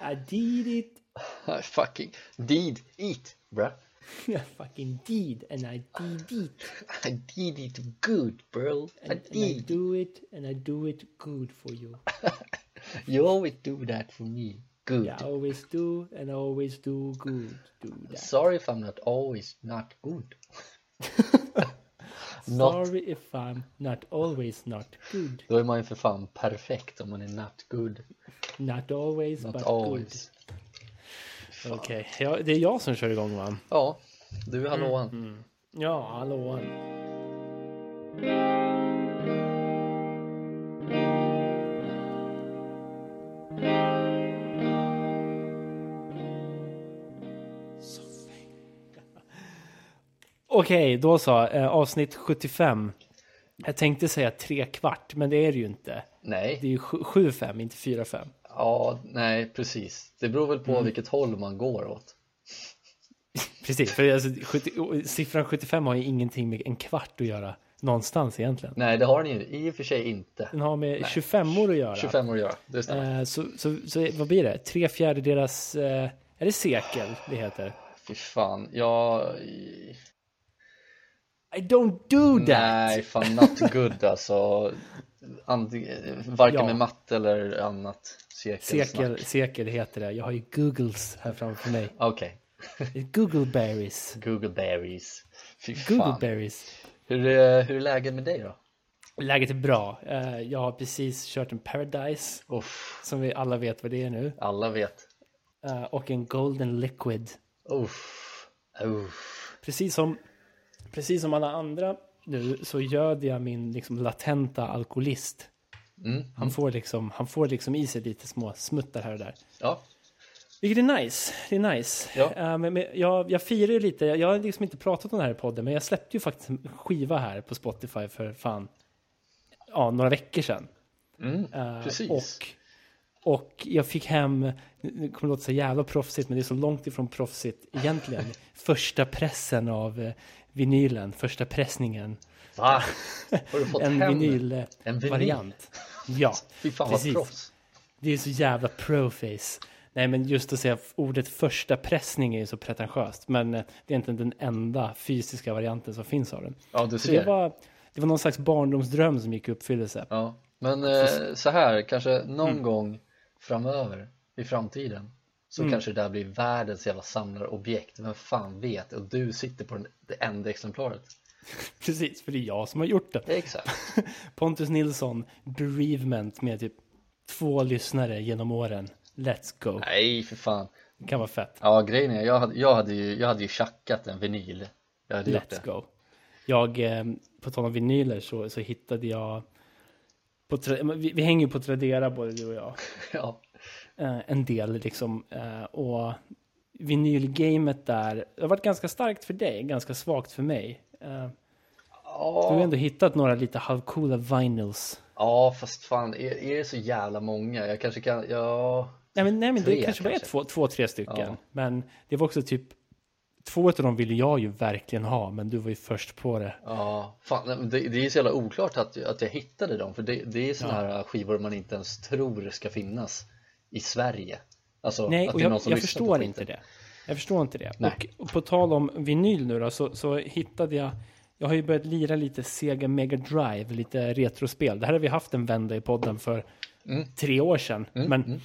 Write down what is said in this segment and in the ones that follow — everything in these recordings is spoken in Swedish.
I did it. I fucking did it bruh. I fucking did and I did it. I did it good bro. And, I and I did. do it and I do it good for you. You always do that for me. Good. Yeah, I always do and I always do good. Do that. Sorry if I'm not always not good. not. Sorry if I'm not always not good. Då är man ju för fan perfekt om man är not good. Not always Not but always. good. Okej, ja, det är jag som kör igång va? Ja, du hallåan. Ja, hallå. Okej, då så. Eh, avsnitt 75. Jag tänkte säga tre kvart, men det är det ju inte. Det Nej, är ju sju- sju fem, inte fyra fem. ja, nej precis. Det beror väl på Mm. vilket håll man går åt. Precis, för alltså, 70, siffran 75 har ju ingenting med en kvart att göra någonstans egentligen. Nej, det har ni ju i och för sig inte. Den har med 25 år att göra. 25 år att göra, det stämmer. Eh, så, så, så vad blir det? Tre fjärdedelars... Eh, är det sekel det heter? Fy fan, jag... I don't do that! Nej, fan not good alltså. Antingen, varken Ja. med matte eller annat. Sekelsnack. Sekel, sekel heter det. Jag har ju googles här framför mig. Okej, Googleberries. Google Berries. Fy fan. Googleberries. Hur, eh, hur är läget med dig då? Läget är bra. Eh, jag har precis kört en Paradise, Uff, som vi alla vet vad det är nu. alla vet. Eh, och en Golden Liquid. Uff, uff. precis som, precis som alla andra nu så göd jag min liksom, latenta alkoholist. Mm, Han, får liksom, han får liksom i sig lite små smuttar här och där. Ja, Vilket är nice. Det är nice. Ja. Eh, men, men jag, jag firar ju lite. Jag har liksom inte pratat om det här i podden, men jag släppte ju faktiskt en skiva här på Spotify för fan, ja, några veckor sedan. mm. Eh, precis. Och, och jag fick hem, nu- nu kommer det låta så jävla proffsigt, men det är så långt ifrån proffsigt egentligen. första pressen av eh, vinylen, första pressningen. Va? Har du fått En hem? En vinyl? vinylvariant. Ja, Fy fan vad proffs. det är så jävla proface. Nej, men just att säga ordet första pressning är ju så pretentiöst. Men eh, det är inte den enda fysiska varianten som finns av den. Ja, du Så det ser. var, det var någon slags barndomsdröm som gick i uppfyllelse. Ja. Men eh, så här, kanske någon gång framöver, i framtiden, så kanske det där blir världens jävla samlarobjekt. Vem fan vet? Och du sitter på den, det enda exemplaret. Precis, för det är jag som har gjort det. Exakt. Pontus Nilsson, bereavement med typ två lyssnare genom åren. Let's go. Nej, för fan. Det kan vara fett. Ja, grejen är, jag hade, jag hade ju, jag hade ju tjackat en vinyl. Jag hade gjort det. Let's go. Jag, eh, på tal om vinyler så, så hittade jag, på tra- men vi, vi hänger ju på Tradera både du och jag, Ja. eh, en del liksom. Eh, och vinylgamet där, det har varit ganska starkt för dig, ganska svagt för mig. Eh, du har ju Ja, ändå hittat några lite halvcoola vinyls. ja, fast fan, är, är det så jävla många? Jag kanske kan, ja, Nej men, nej, men det Tre, kanske var kanske. två, två, tre stycken. Ja. Men det var också typ, två av dem ville jag ju verkligen ha, men du var ju först på det. Ja, fan, nej, men det, det är så jävla oklart att, att jag hittade dem för det, det är sådana här äh, skivor man inte ens tror ska finnas i Sverige. Alltså, Nej, att och det är någon jag, som jag lyssnar på förstår skiten. inte det. Jag förstår inte det. Nej. Och på tal om vinyl nu då, så, så hittade jag, jag har ju börjat lira lite Sega Mega Drive, lite retrospel. Det här har vi haft en vända i podden för Mm. tre år sedan. men,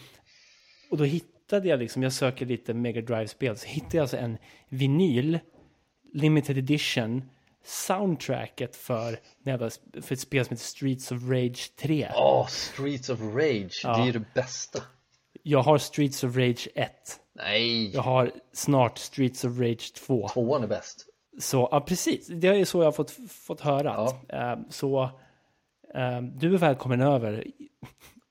Och då hittade jag liksom, jag söker lite Mega Drive-spel, så hittade jag alltså en vinyl, limited edition, soundtracket för, när jag var- för ett spel som heter Streets of Rage 3. Ja, Streets of Rage, det är ju det bästa. Jag har Streets of Rage 1. Nej, Jag har snart Streets of Rage 2. tvåan är bäst. Så, ja precis, det är så jag har fått, fått höra. att, eh, så eh, du är välkommen över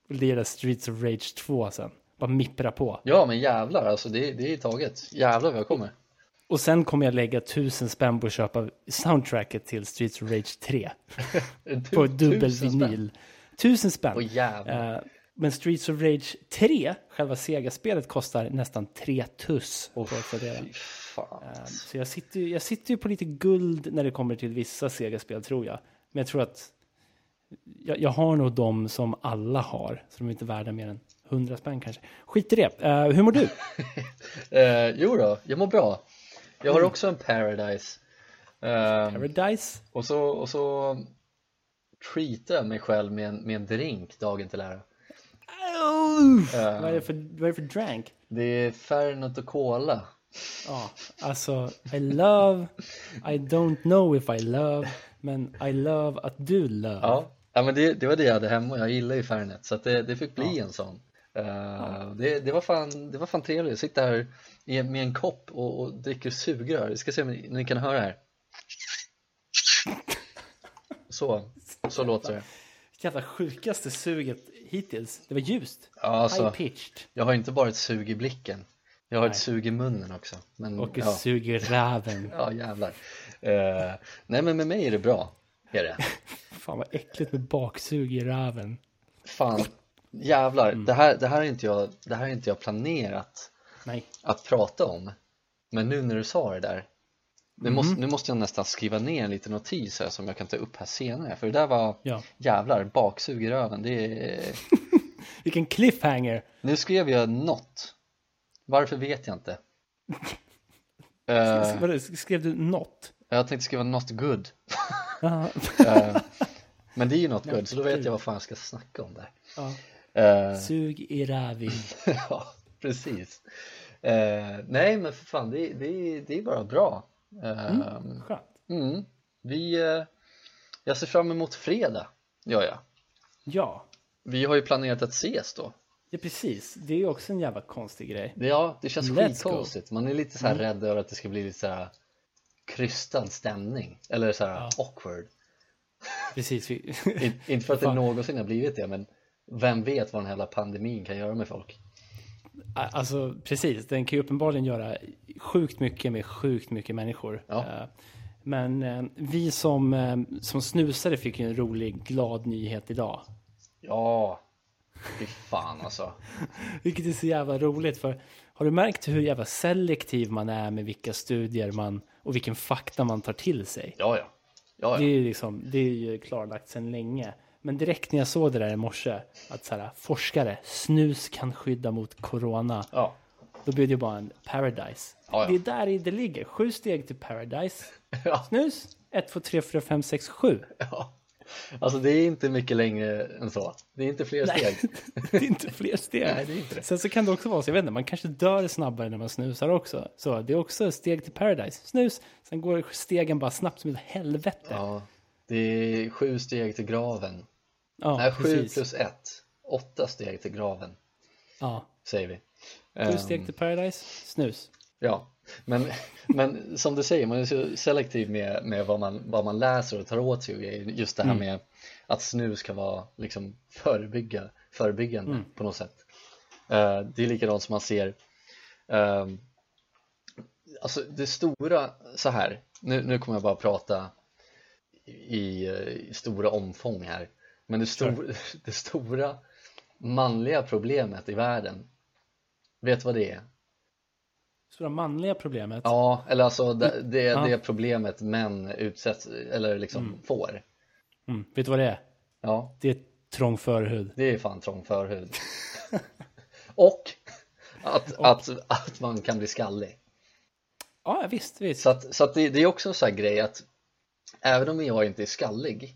och lira Streets of Rage 2 sen. Bara mippra på. Ja, men jävlar, alltså det, det är taget. Jävlar vad jag kommer. Och sen kommer jag lägga tusen spänn på att köpa soundtracket till Streets of Rage 3. På dubbel Tusen spänn. vinyl. Tusen spänn. Åh, jävlar. Eh, men Streets of Rage 3, själva Sega-spelet, kostar nästan tre tuss. på att tradera. Fy fan. Um, Så jag sitter, ju, jag sitter ju på lite guld när det kommer till vissa Sega-spel tror jag. Men jag tror att jag, jag har nog de som alla har, så de är inte värda mer än 100 spänn kanske. Skit i det. Eh, hur mår du? Eh, jo då, jag mår bra. Jag Mm. har också en Paradise. Ehm, Paradise? och, så, och så treatar jag mig själv med en, med en drink dagen till ära. Uff, Eh. vad, är det för, vad är det för drank? Det är Fernet och Cola. Ja, alltså I love, I don't know if I love, men I love att du love. Ja, ja men det, det var det jag hade hemma och jag gillar ju Fernet så att det, det fick bli en sån. Eh, det, det, var fan, det var fan trevligt, jag sitter här i, med en kopp och, och dricker sugrör. Vi ska se om ni, ni kan höra här. Så, så låter det. Jävla sjukaste suget hittills. Det var ljust. Ja, alltså, High pitched. jag har inte bara ett sug i blicken, jag har ett sug i munnen också. Men, Och ja, sug i räven. ja, jävlar. Eh, nej men med mig är det bra, är det. Fan vad äckligt med baksug i räven. Fan, jävlar. Det, här, det, här har inte jag, det här har inte jag planerat. Nej. att prata om. Men nu när du sa det där, det måste, nu måste jag nästan skriva ner en liten notis här som jag kan ta upp här senare. För det där var, Ja. jävlar, baksug i röven. Det är, Vilken cliffhanger. nu skrev jag något. Varför vet jag inte. Eh, Vadå, skrev du något? jag tänkte skriva något good. Ja. Eh, men det är ju något good, så då vet jag vad fan jag ska snacka om där. Ja. Eh, Sug i räven. ja, precis. Eh, nej, men för fan, det, det, det är bara bra. Eh, Skönt. Mm. Vi, eh, jag ser fram emot fredag, gör jag. Ja. Vi har ju planerat att ses då. ja, precis. Det är ju också en jävla konstig grej. Det, ja, det känns Let's Mm. skitkonstigt. Man är lite så här rädd över att det ska bli lite så här krystad stämning. Eller så här awkward. Precis. vi- In, inte för att det någonsin har blivit det, men vem vet vad den här jävla pandemin kan göra med folk? Alltså precis, den kan ju uppenbarligen göra sjukt mycket med sjukt mycket människor. Ja. Eh, Men eh, vi som, eh, som snusare fick ju en rolig, glad nyhet idag. Ja, fy fan alltså. Vilket är så jävla roligt för har du märkt hur jävla selektiv man är med vilka studier man och vilken fakta man tar till sig? Ja, ja. ja, Det är ja. ju, liksom, det är ju klarlagt sedan länge. Men direkt när jag såg det där i morse, att så här, forskare, snus kan skydda mot corona. ja. Då blir det ju bara en paradise. Ja, ja. Det är där i det ligger. Sju steg till paradise. Ja. Snus, 1, 2, 3, 4, 5, 6, 7. ja. Alltså det är inte mycket längre än så. Det är inte fler Nej, steg. det är inte fler steg. Nej, det är inte det. Sen så kan det också vara så, jag vet inte, man kanske dör snabbare när man snusar också. Så det är också ett steg till paradise. Snus, sen går stegen bara snabbt som ett helvete. Ja, det är sju steg till graven. Ja, Nej, sju precis. plus ett. Åtta steg till graven, Ja, säger vi. sju Ehm, steg till paradise, snus. Ja, men, men som du säger, man är så selektiv med, med vad, man, vad man läser och tar åt sig. och grejer. Just det här med att snus kan vara liksom förebygga, förebyggande på något sätt. Eh, det är likadant som man ser ehm, Alltså det stora, så här, nu, nu kommer jag bara prata i, eh, i stora omfång här. Men det, stor, det stora manliga problemet i världen, vet du vad det är? Så det manliga problemet. Ja, eller alltså det, det, det problemet män utsätts eller liksom får. Mm, vet du vad det är? Ja, Det är trång förhud. det är fan trång förhud. Och att, Att, att man kan bli skallig. Ja, visst, visst. Så, att, så att det, det är också en sån här grej att även om jag inte är skallig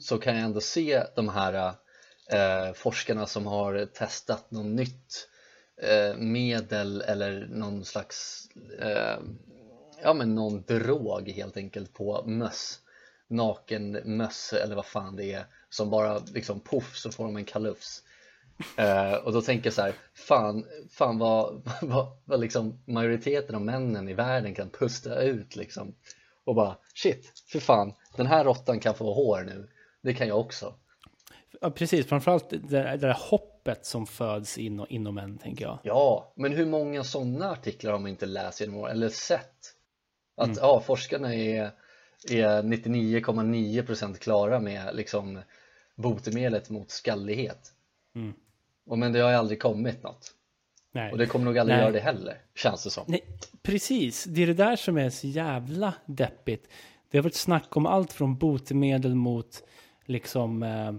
så kan jag ändå se de här eh, forskarna som har testat något nytt eh, medel eller någon slags eh, ja men någon drog helt enkelt på möss naken möss eller vad fan det är som bara liksom poff så får de en kalufs Eh, och då tänker jag så här, fan, fan vad, vad, vad liksom majoriteten av männen i världen kan pusta ut liksom. Och bara, shit, för fan, den här råttan kan få hår nu. Det kan jag också. Ja, precis, framförallt det där, det där hoppet som föds in, inom en, tänker jag. Ja, men hur många sådana artiklar har man inte läst genom åren, eller sett? Att Mm. ja, forskarna är, är 99,9% klara med liksom, botemedlet mot skallighet. Mm. Och, men det har ju aldrig kommit något. Nej. Och det kommer nog aldrig Nej. göra det heller, känns det som. Nej, precis. Det är det där som är så jävla deppigt. Det har varit snack om allt från botemedel mot liksom eh,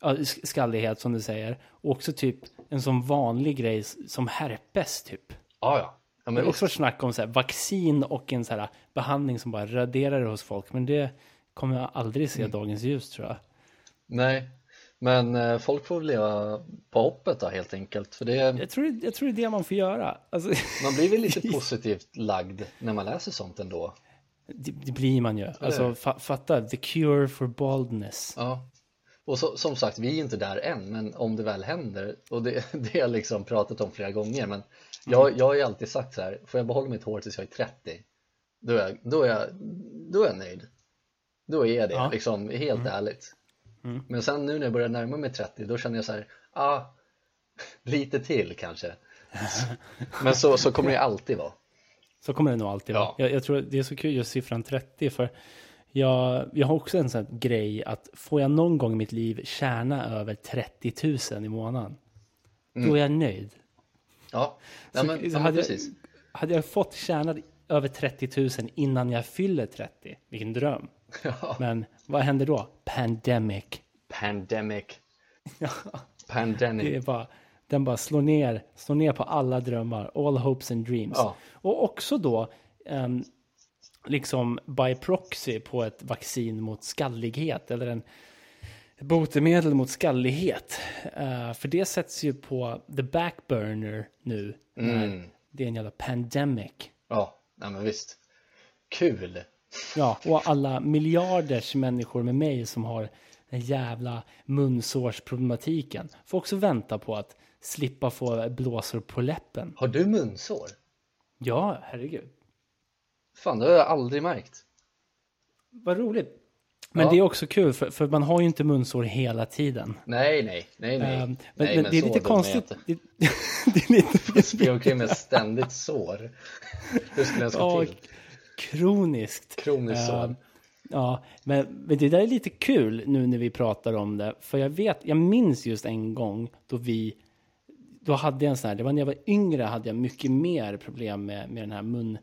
ja, skallighet som du säger. Och också typ en sån vanlig grej som herpes typ. Ja, ja. ja det men är också visst. snack om så här, vaccin och en så här, behandling som bara raderar det hos folk. Men det kommer jag aldrig se dagens ljus tror jag. Nej, men eh, folk får väl leva på hoppet då helt enkelt. För det, Jag tror, jag tror det är det man får göra. Alltså, man blir väl lite positivt lagd när man läser sånt ändå. det, det blir man ju. Alltså, fa, fatta, the cure for baldness. Ja. Och så, som sagt, vi är inte där än, men om det väl händer, och det, det har jag liksom pratat om flera gånger, men Mm. jag, jag har ju alltid sagt så här, får jag behålla mitt hår tills jag är 30, då är jag, då är jag, då är jag nöjd. Då är jag det, Ja. Mm. liksom helt ärligt. Men sen nu när jag börjar närma mig 30, då känner jag så här, ah, lite till kanske. Men så, så kommer det alltid vara. Så kommer det nog alltid vara. Ja. Jag, jag tror det är så kul just siffran 30 för jag, jag har också en sån här grej att får jag någon gång i mitt liv tjäna över 30 000 i månaden, då Mm. är jag nöjd. Ja, ja Så- men, så ja, men hade, precis. jag, hade jag fått tjäna över 30 000 innan jag fyller 30, vilken dröm. Ja. Men vad händer då? Pandemic. Pandemic, Ja, pandemic. det är bara, den bara slår ner, slår ner på alla drömmar, all hopes and dreams. Ja. Och också då, ehm, liksom by proxy på ett vaccin mot skallighet eller en botemedel mot skallighet. Eh, för det sätts ju på the backburner nu. När det är en jävla pandemic. Ja, nej men visst. Kul! Ja, och alla miljarders människor med mig som har den jävla munsårsproblematiken får också vänta på att slippa få blåsor på läppen. Har du munsår? Ja, herregud. Fan, det har jag aldrig märkt. Vad roligt. Men Ja. det är också kul, för, för man har ju inte munsår hela tiden. Nej, nej, nej, nej. Ehm, men, nej men det är så lite dum konstigt. jag inte. Det, det är lite... Springer omkring med ständigt sår. Hur skulle jag Ja, ska till? kroniskt. Kroniskt sår. Ehm, Ja, men, men det där är lite kul nu när vi pratar om det. För jag vet, jag minns just en gång då vi, då hade jag en sån här, det var när jag var yngre hade jag mycket mer problem med, med den här mun,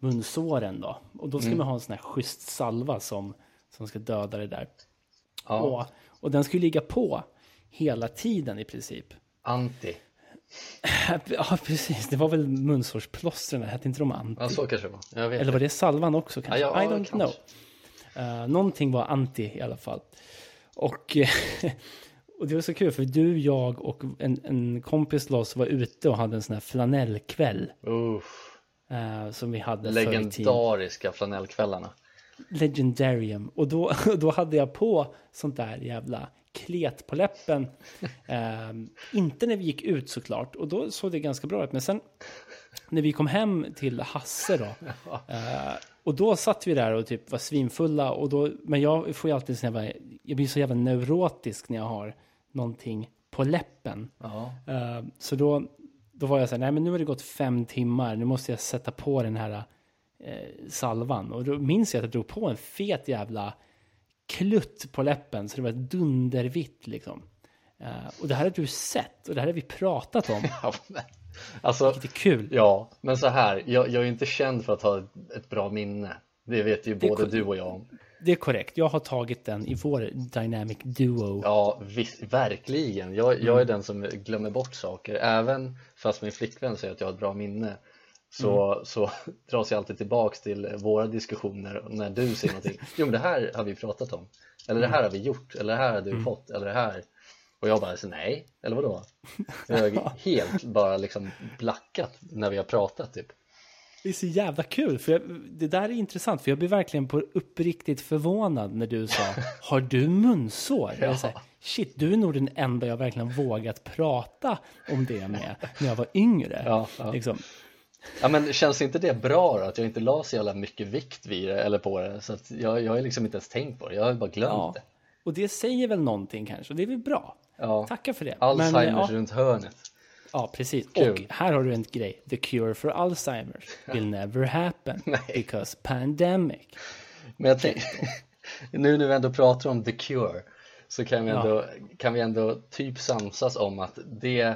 munsåren då. Och då ska man ha en sån här schysst salva som, som ska döda det där. Ja, Och, och den skulle ligga på hela tiden i princip. anti. Ja, precis. Det var väl munsårsplåstren, hette inte de anti? Ja, så kanske det var. Jag vet. Eller var det salvan också kanske? Ja, ja, I don't kanske. know. Eh, någonting var anti i alla fall. Och, och det var så kul för du, jag och en, en kompis till oss var ute och hade en sån här flanellkväll. Uff, eh, som vi hade förr i tiden. legendariska flanellkvällarna. Legendarium. Och då, då hade jag på sånt där jävla klet på läppen. Ehm, inte när vi gick ut såklart. Och då såg det ganska bra ut. Men sen när vi kom hem till Hasse då. eh, och då satt vi där och typ var svinfulla. Och då, men jag får ju alltid sån jävla, jag blir så jävla neurotisk när jag har någonting på läppen. Ja, Eh, så då, då var jag så här, nej men nu har det gått fem timmar, nu måste jag sätta på den här eh, salvan. Och då minns jag att jag drog på en fet jävla klutt på läppen, så det var dundervitt liksom. Eh, och det här har du sett, och det här har vi pratat om. Ja, men- alltså, Det är kul. ja, men så här, jag, jag är inte känd för att ha ett, ett bra minne. Det vet ju både kon- du och jag om. Det är korrekt, jag har tagit den i vår Dynamic Duo. Ja, visst, verkligen. Jag, jag är den som glömmer bort saker. Även fast min flickvän säger att jag har ett bra minne så, så dras jag alltid tillbaks till våra diskussioner när du säger någonting. Jo, men det här har vi pratat om. Eller det här har vi gjort. Eller det här har du fått. Eller det här. Och jag bara, så, nej. Eller vadå? Jag har helt bara liksom blackat när vi har pratat typ. Det är så jävla kul, för jag, det där är intressant, för jag blev verkligen på uppriktigt förvånad när du sa Har du munsår? Jag är så här, Shit, du är nog den enda jag verkligen vågat prata om det med när jag var yngre. Ja, ja. Liksom, Ja, men känns inte det bra då? Att jag inte la så jävla mycket vikt vid det eller på det. Så att jag, jag har liksom inte ens tänkt på det. Jag har bara glömt ja. det. Och det säger väl någonting kanske, och det är väl bra. Ja. Tacka för det. Alzheimers Men, ja, runt hörnet. ja, precis. Kul. Och här har du en grej. The cure for Alzheimers will never happen because pandemic. Men jag tänk, nu när vi ändå pratar om The Cure så kan vi ändå, kan vi ändå typ samsas om att det,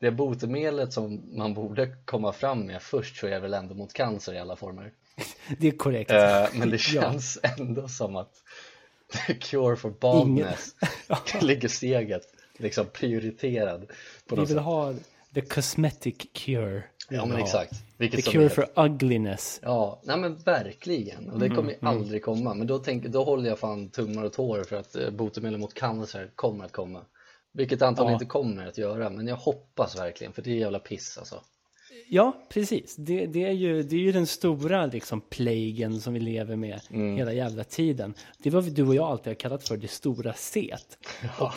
det botemedlet som man borde komma fram med först så är väl ändå mot cancer i alla former. Det är korrekt. Eh, Men det Ja. känns ändå som att The Cure for Baldness ligger steget liksom prioriterad på Vi något vill sätt. ha the cosmetic cure. Ja men exakt. The Vilket som cure är- for ugliness. Ja, nej men verkligen. Mm, Och det kommer ju aldrig komma. Men då, tänk, då håller jag fan tummar och tår för att eh, botemedel mot cancer kommer att komma. Vilket antagligen Ja. inte kommer att göra, men jag hoppas verkligen för det är jävla piss alltså. Ja, precis. Det, det, är ju, det är ju den stora liksom plagen som vi lever med hela jävla tiden. Det är vad vi- du och jag alltid har kallat för det stora C. Ja,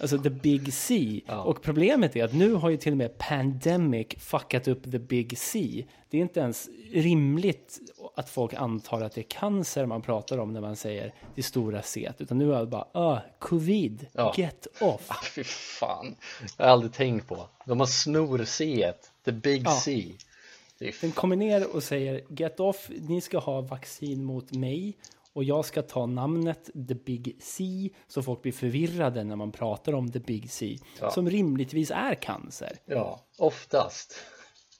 Alltså the big C. Och problemet är att nu har ju till och med pandemic fuckat upp the big C. Det är inte ens rimligt att folk antar att det är cancer man pratar om när man säger det stora C. Utan nu är det bara, ah, covid, Ja. get off. fy fan. Jag har aldrig tänkt på. De har snor-C, the big Ja. C. Det är Den kommer ner och säger Get off, ni ska ha vaccin mot mig och jag ska ta namnet The Big C så folk blir förvirrade när man pratar om The Big C Ja. som rimligtvis är cancer. Ja, oftast.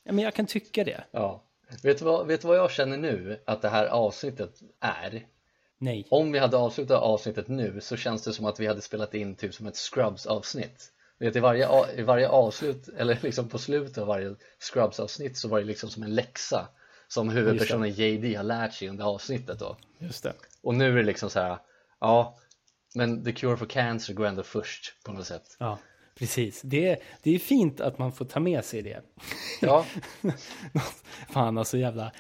Ja, men jag kan tycka det. Ja. Vet du, vad, vet du vad jag känner nu att det här avsnittet är? Nej. Om vi hade avslutat avsnittet nu så känns det som att vi hade spelat in typ som ett Scrubs-avsnitt. Du vet, i varje, a- i varje avslut, eller liksom på slutet av varje Scrubs-avsnitt så var det liksom som en läxa som huvudpersonen JD har lärt sig under avsnittet då. Just det. Och nu är det liksom så här, ja, men The Cure for Cancer går ändå först på något sätt. Ja, precis. Det är, det är fint att man får ta med sig det. Ja, Fan, alltså jävla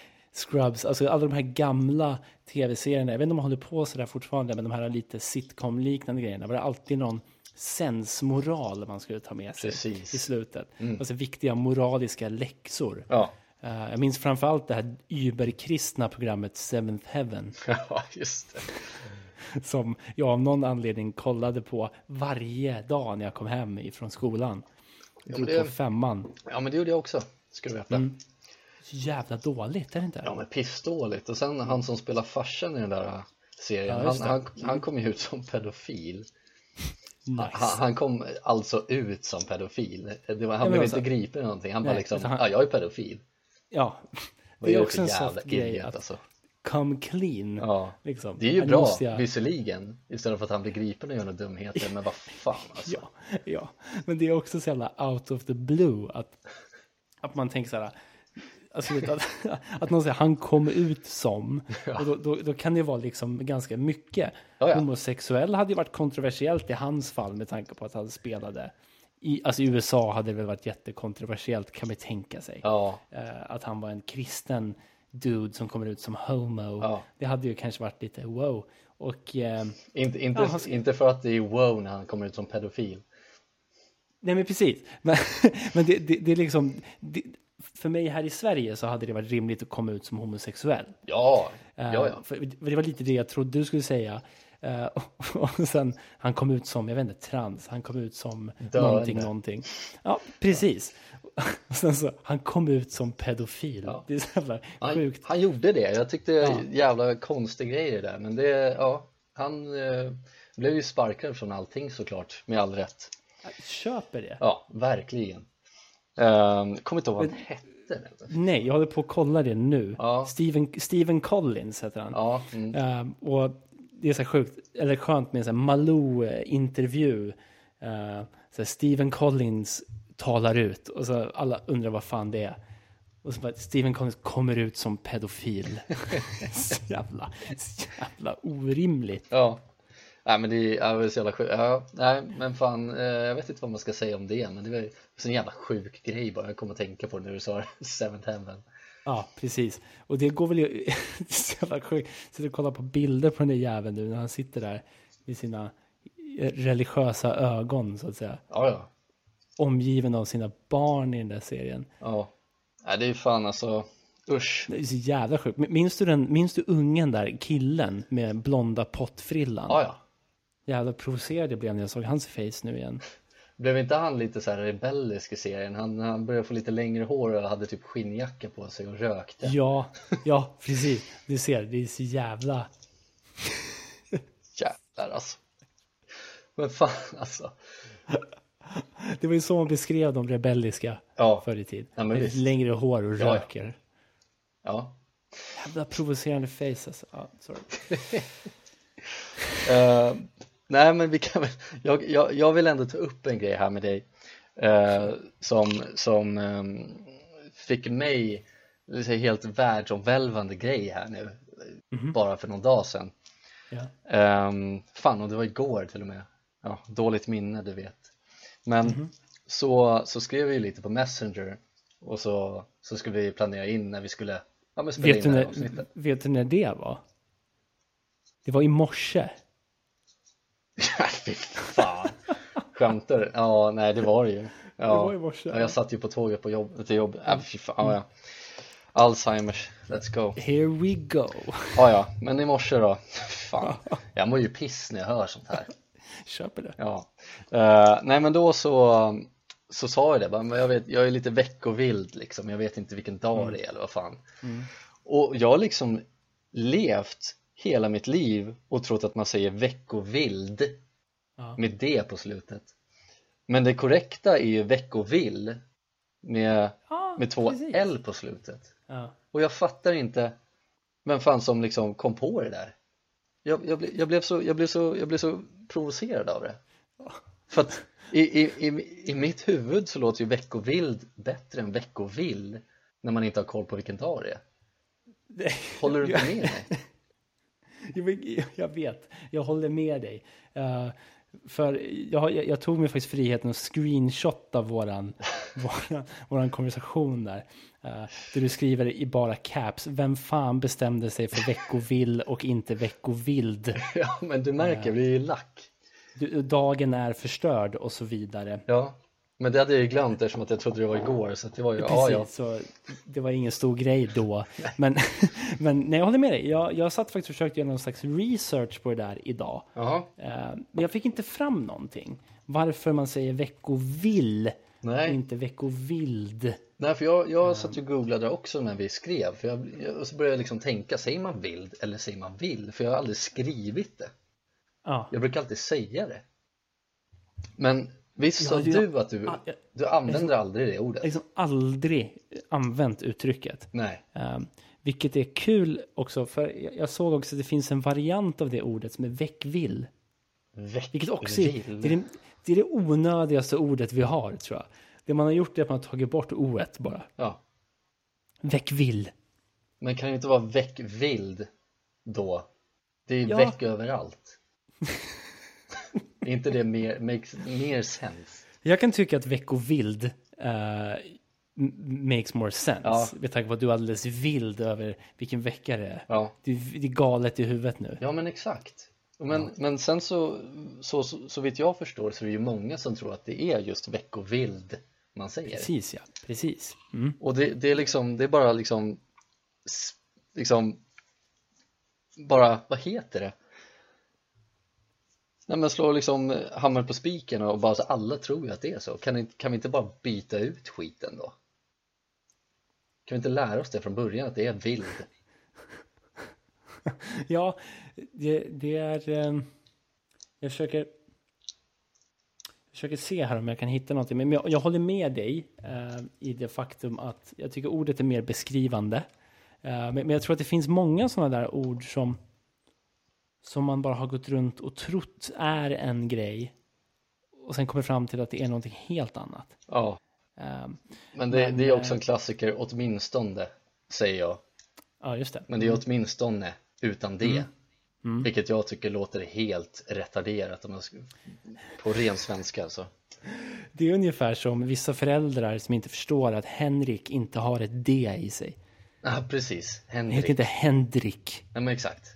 Scrubs, alltså alla de här gamla tv-serierna, jag vet inte om de håller på sådär fortfarande, men de här lite sitcom-liknande grejerna, var det alltid någon sensmoral man skulle ta med sig Precis. Mm. i slutet? Alltså viktiga moraliska läxor. ja, Eh, jag minns framförallt det här überkristna programmet Seventh Heaven, ja just det. som jag av någon anledning kollade på varje dag när jag kom hem ifrån skolan. men Drog det- på femman. Ja, men det gjorde jag också, ska du veta. Så jävla dåligt, är det inte? Ja men pissdåligt och sen han som spelar farsan i den där äh, serien, Mm. Ja, han, just det. Mm. han, han kom ju ut som pedofil Nice. han, han kom alltså ut som pedofil det var, Han men blev alltså- inte gripen eller någonting, han bara Nej, liksom, utan han- ja jag är pedofil Ja, Vad det är du också för en jävla soft grej idiot, att alltså? come clean. Ja, liksom. det är ju Nu bra måste jag- visserligen istället för att han blir gripen och gör några dumheter men vad fan alltså Ja, ja, men det är också så jävla out of the blue att, att man tänker så här. Alltså, vet du, att, att någon säger han kom ut som. Och då, då, då kan det vara liksom ganska mycket. Ja, ja. Homosexuell hade ju varit kontroversiellt i hans fall med tanke på att han spelade. I, alltså i USA hade det väl varit jättekontroversiellt kan man tänka sig. Ja, Eh, att han var en kristen dude som kommer ut som homo. Ja. Det hade ju kanske varit lite wow. Och eh, inte, inte, Ja, han ska- inte för att det är wow när han kommer ut som pedofil nej men precis. Men, men det, det, det är liksom, det, för mig här i Sverige så hade det varit rimligt att komma ut som homosexuell. Ja, Eh, ja ja, För, för det var lite det jag trodde du skulle säga. Eh, och, och sen, han kom ut som, jag vet inte, trans, han kom ut som Döende. någonting, någonting. Ja, precis. Och sen så, han kom ut som pedofil. Ja. Det är så jävla han, sjukt. han gjorde det, jag tyckte jävla konstiga grejer där men det, ja, han eh, blev ju sparkad från allting såklart med all rätt Jag köper det. Ja, verkligen um, Kommer inte ihåg vad han hette nu. Nej, jag håller på att kolla det nu. Ja. Stephen, Stephen Collins heter han. Ja, mm, Ehm, och det är så här sjukt, eller skönt med en sån här Malou-intervju. Eh, så här, Stephen Collins talar ut och så alla undrar vad fan det är. Och så bara, Stephen Collins kommer ut som pedofil. så jävla, så jävla orimligt. ja Nej men det är, ja, det är så jävla sjukt, ja, nej men fan eh, jag vet inte vad man ska säga om det men det var ju en jävla sjuk grej bara jag kommer att tänka på det när du sa Seventh Heaven Ja, precis. Och det går väl ju... det är så jävla sjukt. Sitter och kollar på bilder på den där jäveln nu när han sitter där med sina eh, religiösa ögon, så att säga. Ja, ja, Omgiven av sina barn i den där serien. ja Nej det är ju fan alltså, usch Det är så jävla sjukt. Men Minns du, den, minns du ungen där, killen med blonda pottfrillan? Ja, ja Jävla provocerad jag blev när jag såg hans face nu igen. Blev inte han lite så här rebellisk i serien? Han, han började få lite längre hår och hade typ skinnjacka på sig och rökte. Ja, ja, precis. Du ser, det är så jävla... Jävlar alltså. Men fan alltså. Det var ju så man beskrev de rebelliska Ja, förr i tiden. Ja, men Med visst. längre hår och ja. röker. ja. Jävla provocerande face alltså. Ja, sorry. Eh, nej, men vi kan väl, jag, jag, jag vill ändå ta upp en grej här med dig eh, som, som ehm, fick mig, det vill säga helt världsomvälvande grej här nu, Mhm. bara för någon dag sedan. Ja. Um, fan, och det var igår till och med. Ja, dåligt minne, du vet. Men Mhm. så, så skrev vi lite på Messenger och så, så skulle vi planera in när vi skulle ja, men spela Vet, du in det här när, avsnittet. vet du när det var? Det var i morse. Ja, fy fan. Skämtar du? Ja, nej det var det ju. Det Ja, var i morse. Mm. Ja, jag satt ju på tåget på jobb, till jobbet. Ja, fy fan, ja, ja. Alzheimers, let's go. Here we go. Ja, ja, men i morse då. Fan, jag mår ju piss när jag hör sånt här. Köper det. Ja, Eh, nej men då så, så sa jag det, bara, men jag, vet, jag är lite veckovild liksom, jag vet inte vilken dag Mm. det är eller vad fan. Och jag har liksom levt hela mitt liv och trott att man säger veckovild Ja. med det på slutet. Men det korrekta är ju veckovill med, Ja, med två precis. L på slutet. Ja. Och jag fattar inte vem fan som liksom kom på det där. Jag, jag, ble, jag, blev, så, jag, blev, så, jag blev så provocerad av det. För att i, i, i, i mitt huvud så låter ju veckovild bättre än veckovill när man inte har koll på vilken dag det är. Håller du inte med mig? Jo, men Jag vet, jag håller med dig. Eh, för jag, har- jag, jag tog mig faktiskt friheten att screenshotta våran, våran, våran konversation där. Eh, där du skriver i bara caps, vem fan bestämde sig för veckovill och inte veckovild? Ja, men du märker, jag blir ju lack. Du, dagen är förstörd och så vidare. Ja, men det hade jag ju glömt eftersom att jag trodde det var igår så att det var ju, ja Precis, ja. så det var ingen stor grej då. men, men nej, jag håller med dig. Jag, jag satt faktiskt och försökte göra någon slags research på det där idag. Jaha, Eh, Men jag fick inte fram någonting. Varför man säger veckovill och nej. inte veckovild. Nej, för jag, jag satt Ehm. ju och googlade också när vi skrev för jag, jag, och så började jag liksom tänka, säger man vild eller säger man vill? För jag har aldrig skrivit det. Ja, Jag brukar alltid säga det. Men visst sa Ja, det- du att du, Ah, jag- du använder aldrig det ordet? jag har liksom aldrig använt uttrycket. Nej. Eh, Vilket är kul också, för jag- jag såg också att det finns en variant av det ordet som är väckvill. Vilket också är, Vill. det, är det, det är det onödigaste ordet vi har, tror jag. Det man har gjort är att man har tagit bort oet bara. Ja. Väckvill. Men kan det inte vara väck vild då? Det är ju Ja. väck överallt. är inte det mer, makes mer sense? Jag kan tycka att veckovild eh, m- makes more sense. Ja. Med tanke på att du är alldeles vild över vilken vecka det är. Ja. Det, är- det är galet i huvudet nu. Ja men exakt. Men, men sen så, så, så, så vitt jag förstår så är det ju många som tror att det är just veckovild man säger. Precis ja, precis. Mm. Och det, det är liksom, det är bara liksom, s- liksom, bara, vad heter det? Nej men slå liksom hammaren på spiken och bara så alla tror ju att det är så. Kan, inte- kan vi inte bara byta ut skiten då? Kan vi inte lära oss det från början att det är vild? Ja, det, det är... ehm, jag försöker... Jag försöker se här om jag kan hitta någonting. Men jag, jag håller med dig eh, i det faktum att jag tycker ordet är mer beskrivande. Eh, men, men jag tror att det finns många sådana där ord som, som man bara har gått runt och trott är en grej och sen kommer fram till att det är någonting helt annat. Ja, Eh, men det, det är också en klassiker, åtminstone säger jag. ja, just det. Men det är åtminstone utan det. Vilket jag tycker låter helt retarderat om jag ska, på ren svenska alltså. Det är ungefär som vissa föräldrar som inte förstår att Henrik inte har ett D i sig. Ja, precis. Det heter Henrik. inte Henrik. Nej, men exakt.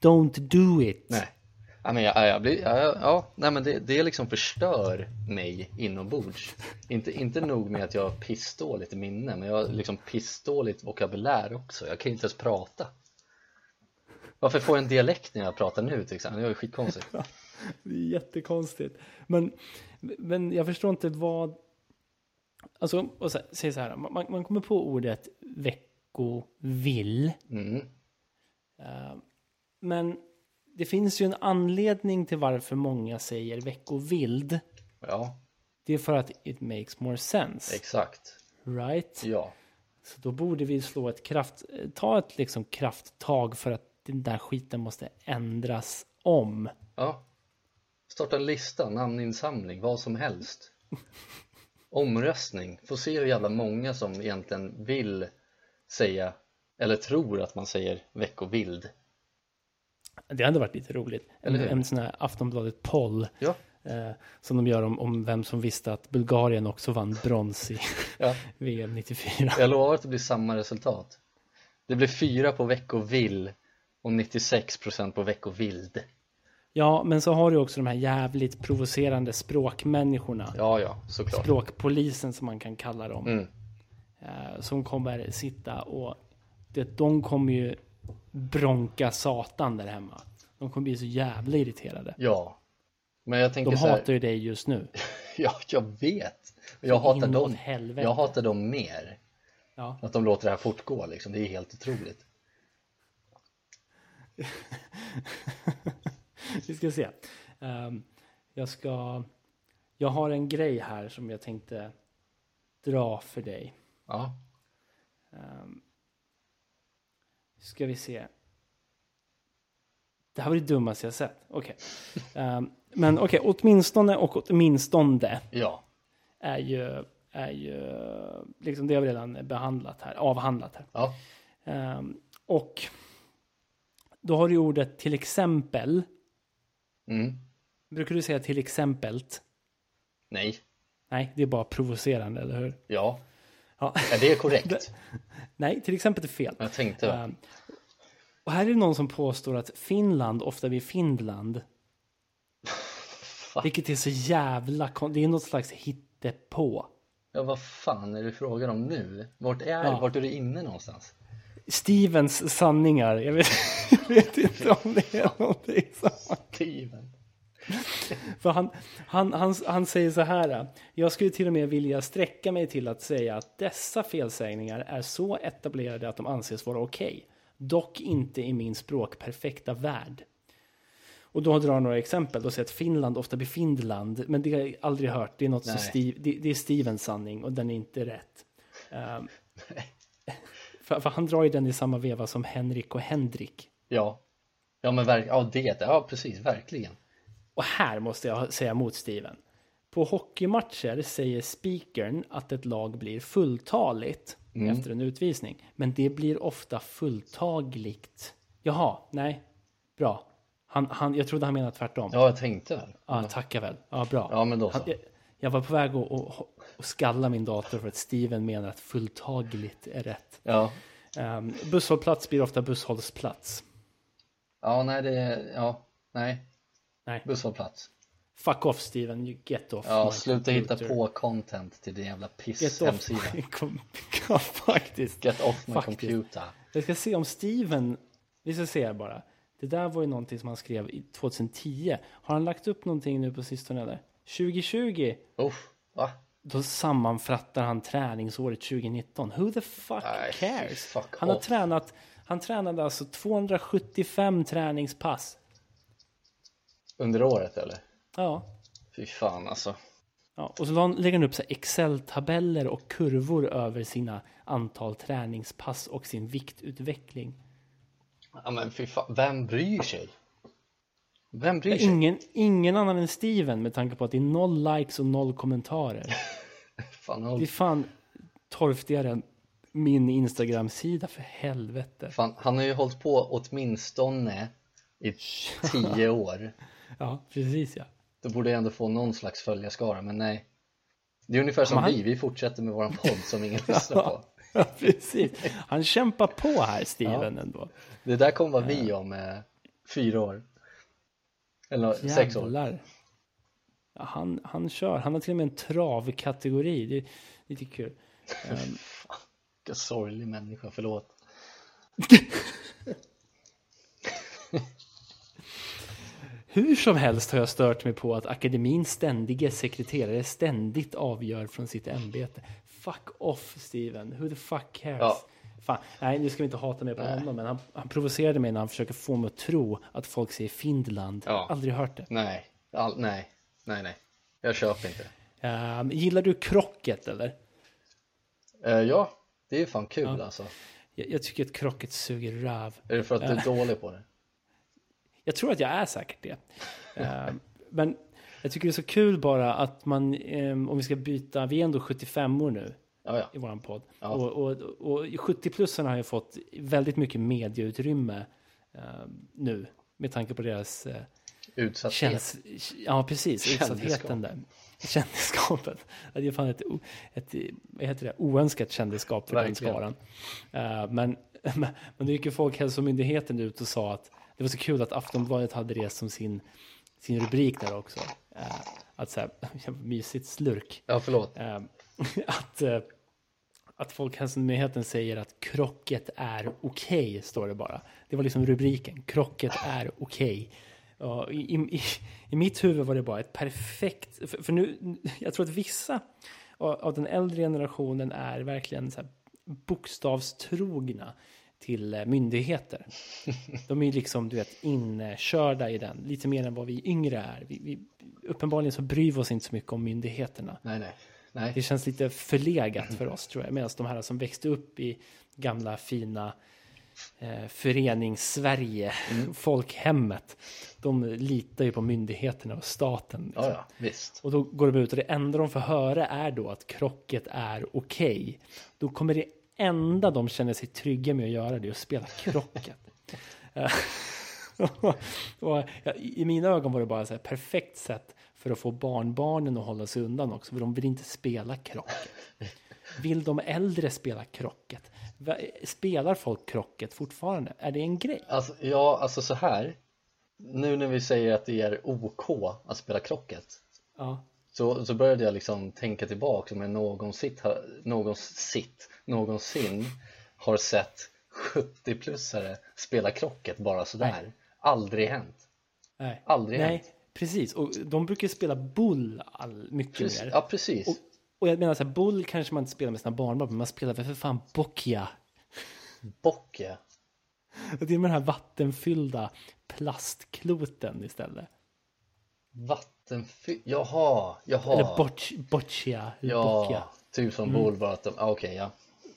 Don't do it. Nej. Ja, men jag, ja, jag blir, ja, ja, ja, nej men det, det liksom förstör mig inombords. Inte, inte nog med att jag har pissdåligt minne, men jag har liksom pissdåligt vokabulär också. Jag kan inte ens prata. Varför får jag en dialekt när jag pratar nu till exempel? Det är ju skitkonstigt. Det är jättekonstigt. Men, men jag förstår inte vad... Alltså, och så, säg så här, man, man kommer på ordet veckovill. Mm. Eh, men det finns ju en anledning till varför många säger veckovild. Ja, Det är för att it makes more sense. exakt. Right? Ja, Så då borde vi slå ett kraft, ta ett liksom krafttag för att den där skiten måste ändras om. Ja. Starta en lista, namninsamling, vad som helst. Omröstning, får se hur jävla många som egentligen vill säga eller tror att man säger veckovild. Det hade varit lite roligt. En, Eller hur? en sån här Aftonbladet poll Ja, eh, som de gör om, om vem som visste att Bulgarien också vann brons i ja. VM 94. Jag lovar att det blir samma resultat. Det blir fyra på veckovill och 96% på veckovild. Ja, men så har du också de här jävligt provocerande språkmänniskorna. Ja, ja, såklart. Språkpolisen som man kan kalla dem. Mm. eh, som kommer sitta och det, de kommer ju bronka satan där hemma. De kommer bli så jävla irriterade. Ja. Men jag tänker De så här, hatar ju dig just nu. Ja, jag vet. Och Jag in hatar åt dem. helvete. Jag hatar dem mer. Ja. Att de låter det här fortgå liksom. Det är helt otroligt. Vi ska se. Ehm, jag ska... Jag har en grej här som jag tänkte dra för dig. Ja, Ska vi se. Det här var det dummaste jag sett. Okej. Ehm, men okej, åtminstone och åtminstone ja, är ju, är ju liksom det har vi redan behandlat här, avhandlat här. ja, Ehm, och då har du ordet till exempel. mm. Brukar du säga till exempelt? nej, Nej, det är bara provocerande, eller hur? ja. Ja. Är det korrekt? Nej, till exempel är fel. Jag tänkte, Ehm, och här är det någon som påstår att Finland ofta blir Finland. Vilket är så jävla kon- Det är något slags hittepå. ja, vad fan är det frågan om nu? Vart är, Ja. vart är du inne någonstans? Stevens sanningar. Jag vet, jag vet inte om det är någonting som... Steven. För han, han, han, han säger så här. Jag skulle till och med vilja sträcka mig till att säga att dessa felsägningar är så etablerade att de anses vara okej. Dock inte i min språkperfekta värld. Och då drar han några exempel. Då säger att Finland ofta blir Finland. Men det har jag aldrig hört. Det är, något som Nej. Steve, det, det är Stevens sanning och den är inte rätt. Ehm, för, för han drar ju den i samma veva som Henrik och Henrik. Ja, ja men verk, ja det, ja precis, verkligen. Och här måste jag säga mot Steven. På hockeymatcher säger speakern att ett lag blir fulltaligt Mm. efter en utvisning. Men det blir ofta fulltagligt. Jaha, nej, bra. Han, han, jag trodde han menade tvärtom. Ja. Ja, jag tänkte väl. tacka väl. Ja, bra. Ja, men då han, så. jag, jag var på väg att att- att skalla min dator för att Steven menar att fulltagligt är rätt. Ja, Um, busshållplats blir ofta busshållsplats. ja, nej, det, ja, nej, Nej, busshållplats. fuck off Steven, you get off Ja, my sluta hitta computer. på content till din jävla Get off piss-hemsida. my computer. Ja, faktiskt. Get off my Faktiskt. computer. Jag ska se om Steven, vi ska se här bara. Det där var ju någonting som han skrev i 2010. Har han lagt upp någonting nu på sistone eller? 2020, Uff, va? då sammanfattar han träningsåret 2019. Who the fuck Nej, cares? fuck han har off. tränat, han tränade alltså 275 träningspass. Under året eller? Ja. Fy fan alltså. Ja, och så la han- lägger han upp så här Excel-tabeller och kurvor över sina antal träningspass och sin viktutveckling. Ja men fy fan, vem bryr sig? Vem bryr sig? Ingen, ingen annan än Steven med tanke på att det är noll likes och noll kommentarer. Fan, Det är han, fan torftigare än min Instagram-sida för helvete. fan, han har ju hållit på åtminstone i tio år. Ja, precis ja. Då borde jag ändå få någon slags följarskara, men nej. Det är ungefär som Men han- vi, vi fortsätter med våran podd som ingen lyssnar på. ja precis. Han kämpar på här, Steven ändå. Det där kommer vara vi om eh, fyra år. Eller sex år. Jävlar. Ja, han, han kör. Han har till och med en travkategori. Det är lite kul. Vilken sorglig människa, förlåt. Hur som helst har jag stört mig på att akademins ständige sekreterare ständigt avgör från sitt ämbete. Fuck off Steven, who the fuck cares? Ja. Fan. Nej, nu ska vi inte hata mer på honom, men han, han provocerade mig när han försöker få mig att tro att folk säger Finland. Ja. Aldrig hört det. Nej, all, nej, nej, nej. Jag köper inte. Ehm, gillar du krocket eller? Eh, ja, det är ju fan kul alltså. Jag, jag tycker att krocket suger röv. Är det för att du är dålig på det? Jag tror att jag är säkert det. Eh, men jag tycker det är så kul bara att man, eh, om vi ska byta, vi är ändå 75 år nu Ja, ja. i våran podd. Ja. Och, och, och 70-plussarna har ju fått väldigt mycket medieutrymme eh, nu med tanke på deras eh, Utsatthet. Känns, ja, precis. Kändisskap. Utsattheten där. Kändisskapet. Ja, Det är fan ett, o- ett vad heter det, oönskat kändisskap för Verkligen. den skaran. Eh, men, men, men då gick ju Folkhälsomyndigheten ut och sa att det var så kul att Aftonbladet hade det som sin, sin rubrik där också. Eh, att så här, mysigt slurk. Ja, förlåt. Eh, att, eh, att Folkhälsomyndigheten säger att krocket är okej, står det bara. Det var liksom rubriken, krocket är okej. Ja, i, i, i- I mitt huvud var det bara ett perfekt, för, för nu, jag tror att vissa av, av den äldre generationen är verkligen så här bokstavstrogna till eh, myndigheter. De är ju liksom, du vet, inkörda i den, lite mer än vad vi yngre är. Vi, vi, uppenbarligen så bryr vi oss inte så mycket om myndigheterna. Nej, nej. Det nej. Mm. känns lite förlegat för oss tror jag. Medan de här som växte upp i gamla fina eh, förenings-Sverige, Mm. folkhemmet, de litar ju på myndigheterna och staten. Ja, liksom. ja, visst. Och då går de ut och det enda de får höra är då att krocket är okej. Då kommer det enda de känner sig trygga med att göra det är att spela krocket. Eh, och ja, I i mina ögon var det bara så här perfekt sätt för att få barnbarnen att hålla sig undan också, för de vill inte spela krocket. Vill de äldre spela krocket? Va- Spelar folk krocket fortfarande? Är det en grej? Alltså, ja, alltså så här. Nu när vi säger att det är OK att spela krocket Ja. så, så började jag liksom tänka tillbaka om jag någonsin, har- någonsin, någonsin har sett 70-plussare spela krocket bara sådär. Aldrig hänt. Nej. Aldrig Nej, hänt. precis. Och de brukar ju spela bull all, mycket Precis, mer. ja, precis. Och, och jag menar så här, boll kanske man inte spelar med sina barnbarn, men man spelar väl för fan boccia. Bock ja. Och det är med den här vattenfyllda plastkloten istället. Vattenfy... Jaha, jaha. Eller bocc, boccia, eller boccia. ja, typ som mm. Volvo att de... ah, Okej, ja.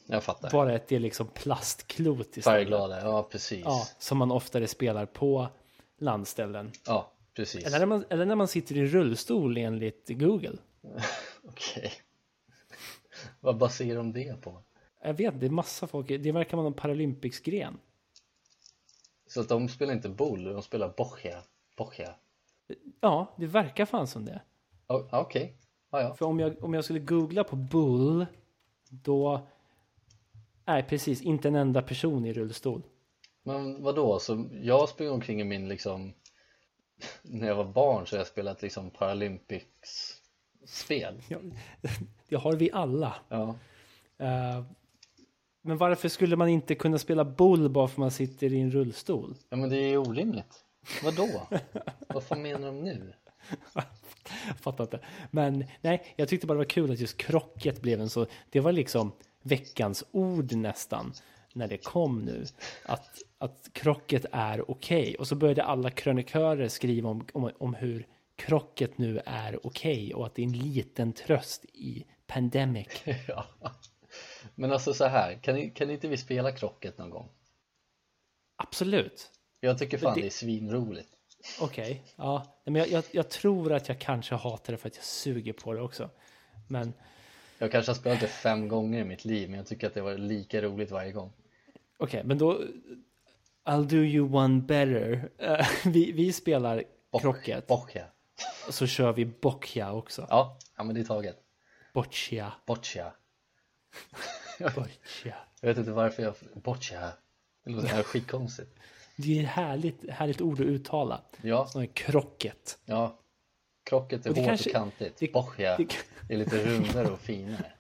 Jag fattar. Bara att det är liksom plastklot istället. Färgglada, ja precis. Ja, Ja, som man oftare spelar på landställen. precis. Eller när, man, eller när man sitter i rullstol enligt Google. Okej. Vad baserar de det på? Jag vet, det är massa folk. Det verkar vara en Paralympics-gren. Så att de spelar inte boll, de spelar boccia. Boccia. Ja, det verkar fan som det. Ja, ja, Okej. Ja, ja. För om jag, om jag skulle googla på bull, då... Nej, precis. Inte en enda person i rullstol. Men vadå, så jag springer omkring i min liksom när jag var barn så har jag spelat liksom Paralympics spel. Ja, det har vi alla. Ja. Eh, men varför skulle man inte kunna spela bull bara för man sitter i en rullstol? ja, men det är ju orimligt. Vadå? Vad fan menar de nu? Jag fattar inte. Men nej, jag tyckte bara det var kul att just krocket blev en så... Det var liksom veckans ord nästan när det kom nu. Att, att krocket är okej. Och så började alla krönikörer skriva om, om, om hur krocket nu är okej och att det är en liten tröst i pandemic. Ja. Men alltså så här, kan, ni- kan inte vi spela krocket någon gång? Absolut. Jag tycker fan det- det, är svinroligt. Okej. Ja, Nej, men jag, jag, jag tror att jag kanske hatar det för att jag suger på det också. Men Jag kanske har spelat det fem gånger i mitt liv men jag tycker att det var lika roligt varje gång. Okej, men då... I'll do you one better. Eh, vi, vi spelar krocket, Boccia. så kör vi boccia också. Ja, ja men det är taget. Boccia, Boccia. boccia. Jag vet inte varför jag... Boccia. Det låter skitkonstigt. Det är ett härligt, härligt ord att uttala. Ja, Som är krocket. ja. Krocket är Och det hårt kanske- och kantigt. det- Boccia det- är lite rundare och finare.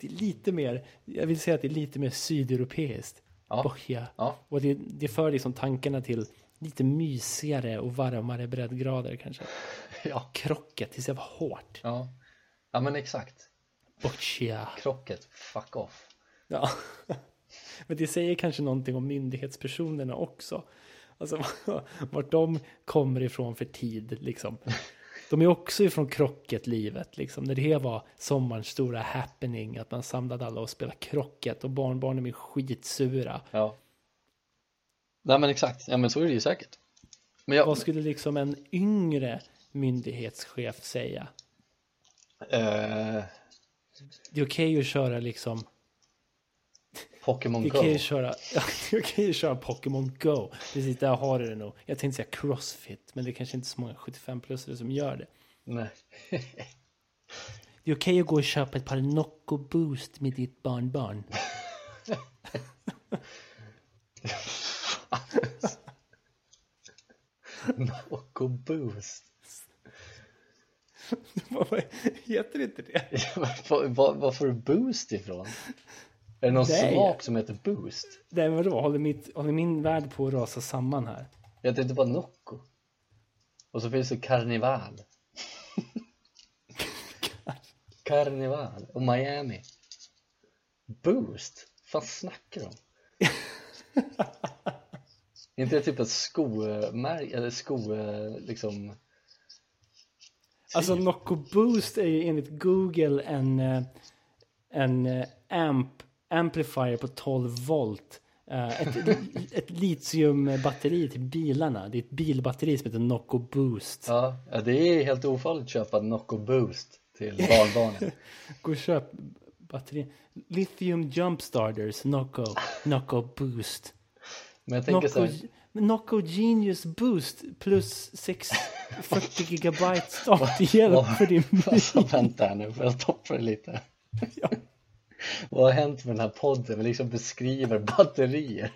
Det är lite mer, jag vill säga att det är lite mer sydeuropeiskt. Ja. Boccia. Ja, Och det, det för liksom tankarna till lite mysigare och varmare breddgrader kanske. ja, Krocket, det är så jävla hårt. ja. Ja men exakt. Boccia. Krocket, fuck off. Ja. Men det säger kanske någonting om myndighetspersonerna också. Alltså vart de kommer ifrån för tid liksom. De är också ifrån krocketlivet liksom. När det var sommarens stora happening. Att man samlade alla och spelade krocket. Och barnbarnen blev skitsura. Ja. Nej men exakt. Ja men så är det ju säkert. Men jag- Vad skulle liksom en yngre myndighetschef säga? Eh, Det är okej att köra liksom Pokémon Du Go. kan ju köra, ja, du kan ju köra Pokémon Go. Precis, där har du det nog. Jag tänkte säga Crossfit, men det är kanske inte så många 75-plussare som gör det. Nej. Det är okej att gå och köpa ett par Nocco Boost med ditt barnbarn. Nocco Boost. Vad Heter inte det? Var, var, var får du boost ifrån? Är det någon Nej. smak som heter boost? Nej, men vadå? Håller, mitt, håller min värld på att rasa samman här? Jag tänkte bara Nocco. Och så finns det Carnival. Carnival och Miami. Boost? Vad fan snackar du om? Är inte det typ ett skomärke eller sko eh, liksom Alltså Typ. Nocco Boost är ju enligt Google en, eh, en eh, amp, amplifier på 12 volt. Eh, Ett, ett litiumbatteri till bilarna. Det är ett bilbatteri som heter Nocco Boost. Ja, ja, det är helt ofarligt att köpa Nocco Boost till barnbarnen. Gå och köp batteri. Lithium Jump Starters Nocco, Nocco Boost. Men jag tänker så Nocco, här, Nocco Genius Boost plus 6, 40 gigabyte starthjälp för din bil. alltså vänta här nu, får jag stoppa dig lite? Ja. Vad har hänt med den här podden? Vi liksom beskriver batterier.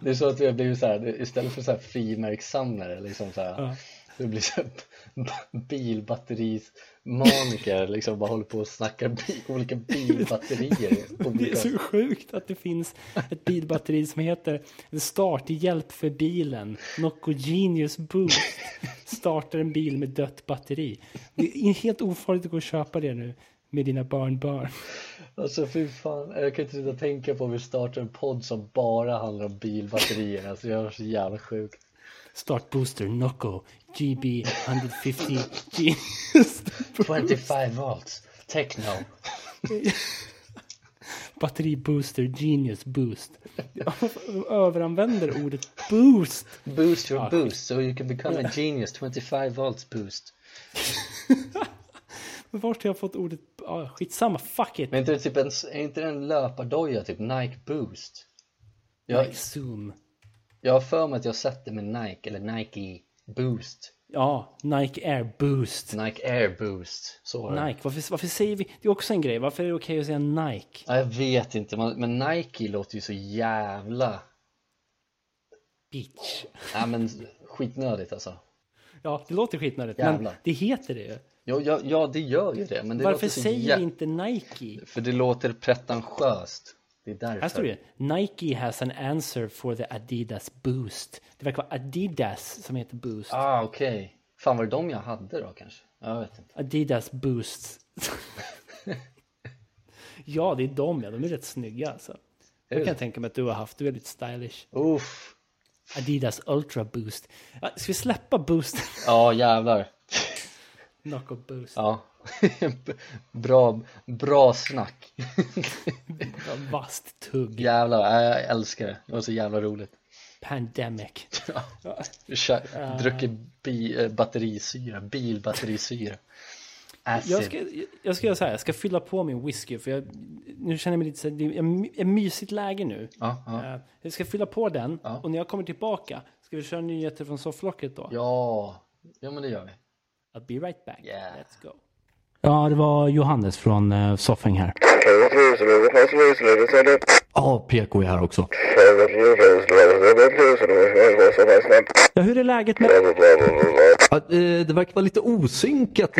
Det är så att vi har blivit så här, istället för så här frimärkssamlare, liksom så här, Ja. vi blir så här b- bilbatterismaniker, liksom bara håller på och snackar bi- olika bilbatterier. Det är Olika, så sjukt att det finns ett bilbatteri som heter Starthjälp för bilen. Nocco Genius Boost. Startar en bil med dött batteri. Det är helt ofarligt att gå och köpa det nu med dina barnbarn. Alltså fy fan, jag kan inte sluta tänka på att vi startar en podd som bara handlar om bilbatterier. Alltså jag är så jävla sjuk. Startbooster Nocco GB 150 Genius 25 volts, techno. Batteribooster Genius Boost. De överanvänder ordet boost. Boost your boost so you can become a genius, 25 volts boost. Vart har jag fått ordet? Ah, skitsamma, fuck it. Men inte det typ en, är inte det en löpardoja, typ Nike boost? Jag, Like Zoom. jag har för mig att jag sett det med Nike, eller Nike boost. Ja, Nike Air Boost. Nike air boost, så var det. Nike, varför, varför säger vi? Det är också en grej, varför är det okej att säga Nike? Ja, jag vet inte, man- men Nike låter ju så jävla, Bitch. ja men skitnödigt alltså. Ja, det låter skitnödigt, men Jävlar. det heter det ju. Ja, ja, ja, det gör ju det. Men det Varför låter så säger jä- vi inte Nike? För det låter pretentiöst. Det är därför. Här står det Nike has an answer for the Adidas Boost. Det verkar vara Adidas som heter Boost. Ah, okej. Fan, var det de jag hade då kanske? Jag vet inte. Adidas Boosts. ja, det är de ja, de är rätt snygga alltså. Det kan jag tänka mig att du har haft, du är lite stylish. Uff. Adidas Ultra Boost. Ja, Ska vi släppa Boost? Ja, jävlar. Knock Boost. Ja. bra, bra snack. Ja, Vasst tugg. Jävlar, ja, jag älskar det. Det var så jävla roligt. Pandemic. Kör, druckit bi, eh, batterisyra, bilbatterisyra. Acid. Jag ska, jag ska göra så här, jag ska fylla på min whisky för jag, nu känner jag mig lite så här, det är my- ett mysigt läge nu. Ja, ja. Eh, Jag ska fylla på den Ja. och när jag kommer tillbaka ska vi köra nyheter från sofflocket då? ja. ja, men det gör vi. I'll be right back. Yeah. Let's go. Ja, det var Johannes från uh, Soffing här. Ja, PK är här också. Ja, hur är läget med... Ja, eh, det verkar vara lite osynkat.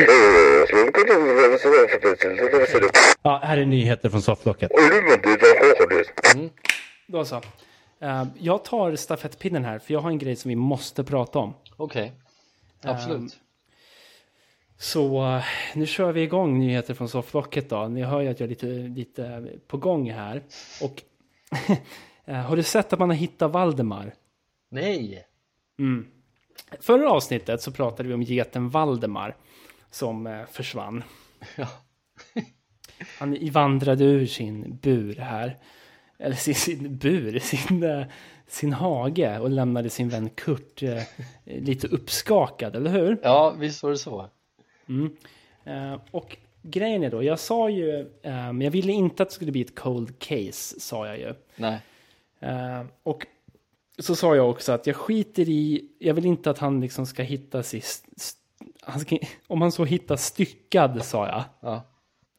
Ja, här är nyheter från sofflocket. Då så. Eh, jag tar stafettpinnen här, för jag har en grej som vi måste prata om. Okej. Ehm. Absolut. Så eh, nu kör vi igång nyheter från sofflocket då. Ni hör ju att jag är lite, lite på gång här. Och eh, har du sett att man har hittat Valdemar? Nej. Förra avsnittet så pratade vi om geten Valdemar som eh, försvann. Ja. Han vandrade ur sin bur här. eller sin, sin bur, sin, eh, sin hage och lämnade sin vän Kurt eh, lite uppskakad, eller hur? Ja, visst var det så. Eh, och grejen är då, jag sa ju, ehm, jag ville inte att det skulle bli ett cold case, sa jag ju. Nej. Eh, och så sa jag också att jag skiter i, jag vill inte att han liksom ska hittas i, st- st- han ska, om han så hittas styckad, sa jag, Ja.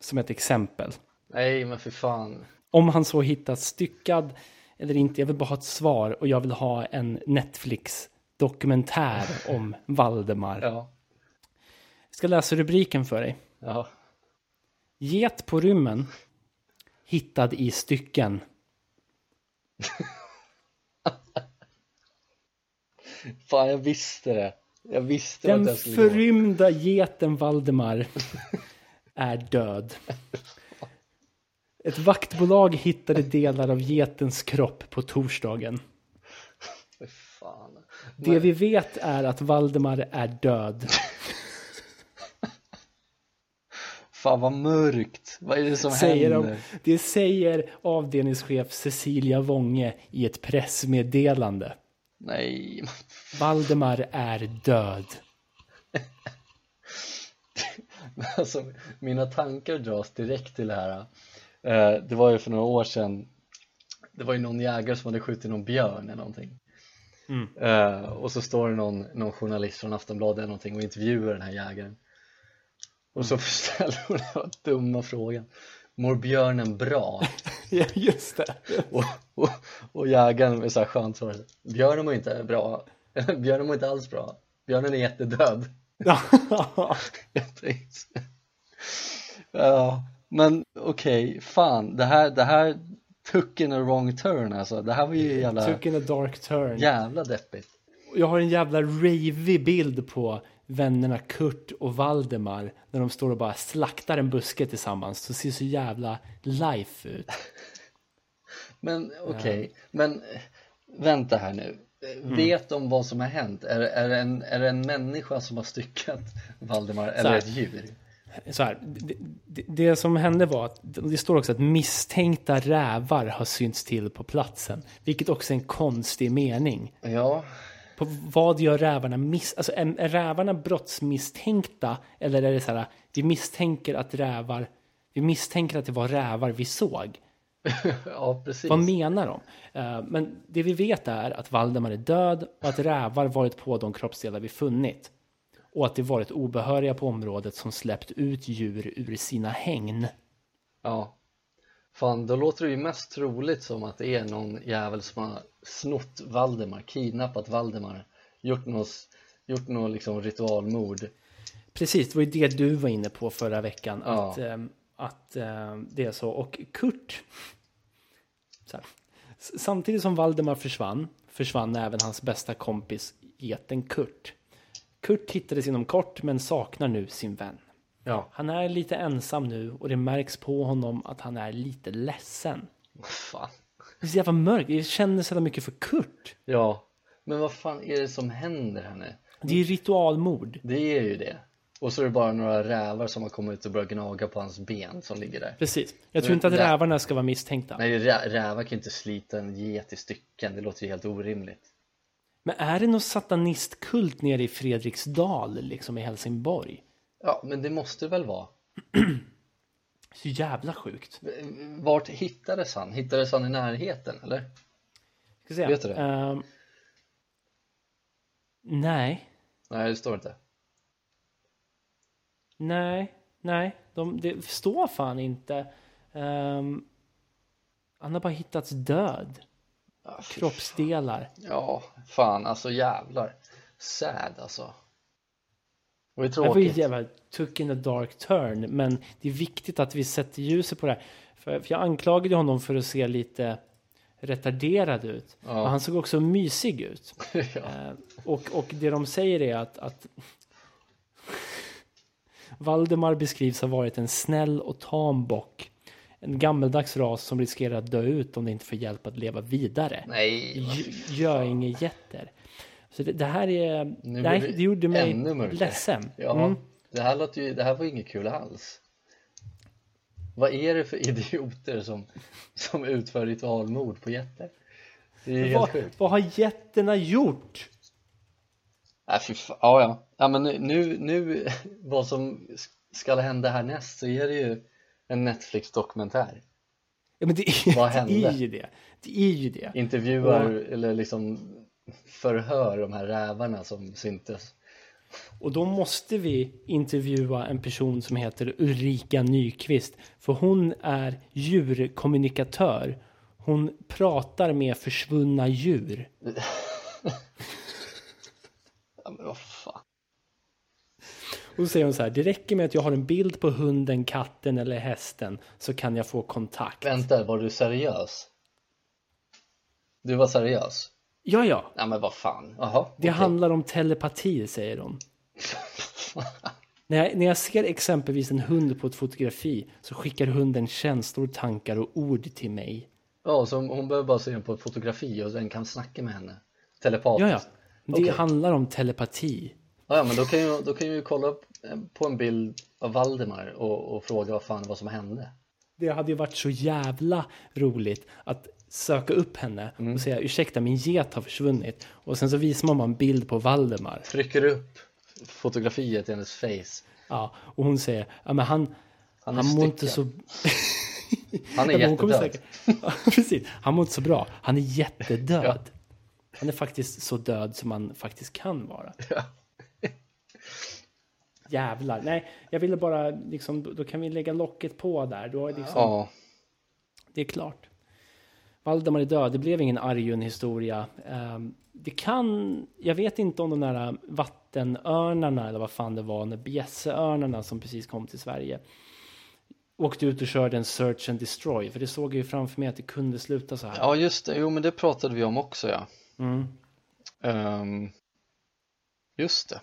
som ett exempel. Nej, men för fan. Om han så hittas styckad eller inte, jag vill bara ha ett svar och jag vill ha en Netflix-dokumentär om Valdemar. Ja. Jag ska läsa rubriken för dig. Ja. Get på rymmen. Hittad i stycken. Fan, jag visste det. Jag visste att Den jag skulle gå. förrymda geten Valdemar är död. Ett vaktbolag hittade delar av getens kropp på torsdagen. Fy Fan. Det vi vet är att Valdemar är död. fan, vad mörkt. Vad är det som Säger de, händer? det säger avdelningschef Cecilia Wånge i ett pressmeddelande. Nej, Valdemar är död. alltså, mina tankar dras direkt till det här. Eh, Det var ju för några år sedan. Det var ju någon jägare som hade skjutit någon björn eller någonting. Mm. Eh, Och så står det någon, någon journalist från Aftonbladet eller någonting och intervjuar den här jägaren. Och så ställer hon den här dumma frågan. Mår björnen bra? Ja, just det. Och, och, och jägaren med så här skönt svar. Björnen mår inte bra. Björnen mår inte alls bra. Björnen är jättedöd. Jag tänkte. Ja, men okej, fan, det här, det här took in a wrong turn alltså. Det här var ju jävla, Took in a dark turn. jävla deppigt. Jag har en jävla ravig bild på vännerna Kurt och Valdemar när de står och bara slaktar en buske tillsammans. Det ser så jävla life ut. Men okej, men eh, vänta här nu. Eh, Mm. Vet de vad som har hänt? Är, är, det en, är det en människa som har styckat Valdemar eller här. ett djur? Så här, det, det, det som hände var att det står också att misstänkta rävar har synts till på platsen, vilket också är en konstig mening. Ja, På vad gör rävarna miss... Alltså är, är rävarna brottsmisstänkta eller är det så här, vi misstänker att rävar, vi misstänker att det var rävar vi såg. ja precis. Vad menar de? Eh, Men det vi vet är att Valdemar är död och att rävar varit på de kroppsdelar vi funnit. Och att det varit obehöriga på området som släppt ut djur ur sina hägn. Ja. Fan, då låter det ju mest troligt som att det är någon jävel som har snott Valdemar, kidnappat Valdemar, gjort något, gjort något liksom ritualmord. Precis, det var ju det du var inne på förra veckan. Ja. Att, ehm, att ehm, det är så. Och Kurt. Så här, s- samtidigt som Valdemar försvann, försvann även hans bästa kompis geten Kurt. Kurt hittades inom kort men saknar nu sin vän. Ja. Han är lite ensam nu och det märks på honom att han är lite ledsen. Fan. Det är så jävla mörkt, jag känner så jävla mycket för Kurt. Ja. Men vad fan är det som händer här nu? Det är ritualmord. Det är ju det. Och så är det bara några rävar som har kommit ut och börjat gnaga på hans ben som ligger där. Precis. Jag tror inte att Mm, Ja. rävarna ska vara misstänkta. Nej, rä- rävar kan ju inte slita en get i stycken. Det låter ju helt orimligt. Men är det någon satanistkult nere i Fredriksdal, liksom i Helsingborg? Ja, men det måste väl vara. Så jävla sjukt. Vart hittades han? Hittades han i närheten, eller? Ska se. Vet du det? Ehm, nej, Nej, det står inte. nej, nej. De, det står fan inte. Ehm, han har bara hittats död. Ja, Ah, fy Kroppsdelar. Ja, fan alltså jävlar. Sad alltså. Och det är Det här var ju tråkigt. jävla took in a dark turn, men det är viktigt att vi sätter ljuset på det här. För, för jag anklagade honom för att se lite retarderad ut, Ja. men han såg också mysig ut. ja. Eh, och, och det de säger är att, att Valdemar beskrivs ha varit en snäll och tam bock. En gammeldags ras som riskerar att dö ut om det inte får hjälp att leva vidare. Nej, vad fy- Gör inga jätter. Så det, det här är... Nu nej, blir det det gjorde mig ännu mörkare. ledsen. ja. Det, här låter ju, det här var inget kul alls. Vad är det för idioter som, som utför ritualmord på getter? Det är Vad, helt sjukt. vad har jätterna gjort? Ja, fy fan. Ja, ja. ja men nu- nu, nu, vad som skall hända härnäst så är det ju en Netflix-dokumentär. Ja, men det, är- Vad det är hände? ju det. Det är ju det. Intervjuar eller liksom förhör de här rävarna som syntes. Och då måste vi intervjua en person som heter Ulrika Nyqvist. För hon är djurkommunikatör. Hon pratar med försvunna djur. Ja, men vad fan. Och så säger hon så här, det räcker med att jag har en bild på hunden, katten eller hästen så kan jag få kontakt. Vänta, var du seriös? Du var seriös? Ja, ja. Ja, men vad fan. Jaha, Det okej. handlar om telepati, säger de. när, jag, när jag ser exempelvis en hund på ett fotografi så skickar hunden känslor, tankar och ord till mig. Ja, så hon behöver bara se den på ett fotografi och sen kan snacka med henne telepatiskt. Ja, ja. Det Okej. handlar om telepati. Ja, ja, men då kan, jag, då kan jag ju kolla upp eh, på en bild av Valdemar och, och fråga vad fan vad som hände. Det hade ju varit så jävla roligt att söka upp henne och säga ursäkta min get har försvunnit och sen så visar man bara en bild på Valdemar Trycker upp fotografiet i hennes face. ja, och hon säger ja, men han, han, är mår inte så styckad. Han är Ja, men hon kommer jättedöd. säkert- Ja, Precis. Han mår inte så bra. Han är jättedöd. Han är faktiskt så död som man faktiskt kan vara. Jävlar. Nej, jag ville bara liksom, då kan vi lägga locket på där. Då är liksom, Ja, Det är klart. Valdemar är död. Det blev ingen Arjun-historia. Ehm, Det kan, jag vet inte om de där vattenörnarna eller vad fan det var, när bjässeörnarna som precis kom till Sverige åkte ut och körde en search and destroy. För det såg jag ju framför mig att det kunde sluta så här. ja just det. Jo, men det pratade vi om också, ja. Mm. Ehm, just det.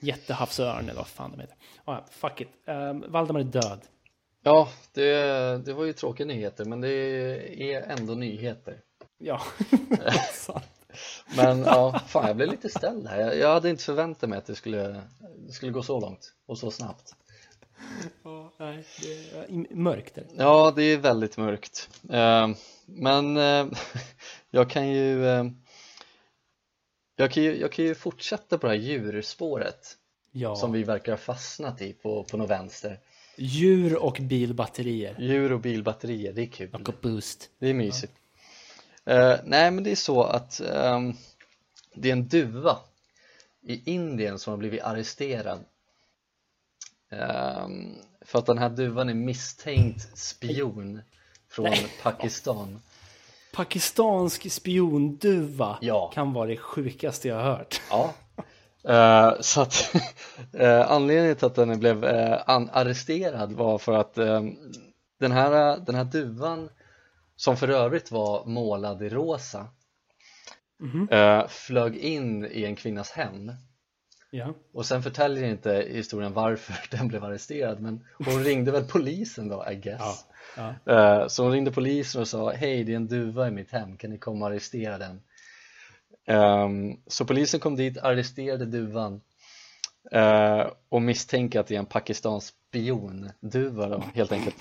Jättehavsörn eller vad fan de heter. Ah, ja, fuck it. Ehm, Valdemar är död. Ja, det, det var ju tråkiga nyheter, men det är ändå nyheter. Ja, sant. Men ja, fan jag blev lite ställd här. Jag, jag hade inte förväntat mig att det skulle, det skulle gå så långt och så snabbt. Ja, nej, det är i- mörkt. Är det. Ja, det är väldigt mörkt. Eh, Men eh, jag kan ju eh, jag kan ju, jag kan ju fortsätta på det här djurspåret Ja, som vi verkar ha fastnat i på, på något vänster. djur och bilbatterier. Djur och bilbatterier, det är kul. Och boost. Det är mysigt. Eh, nej, men det är så att ehm, det är en duva i Indien som har blivit arresterad Ehm, för att den här duvan är misstänkt spion från Pakistan. Pakistansk spionduva Ja. kan vara det sjukaste jag har hört. Ja. Eh, så att eh, anledningen till att den blev eh, an- arresterad var för att eh, den, här, den här duvan som för övrigt var målad i rosa eh, flög in i en kvinnas hem Ja. och sen förtäljer inte historien varför den blev arresterad men hon ringde väl polisen då, I guess. Ja. Eh, Så hon ringde polisen och sa Hej, det är en duva i mitt hem, kan ni komma och arrestera den? Ehm, Så polisen kom dit, arresterade duvan eh, och misstänker att det är en pakistansk spionduva då, helt enkelt.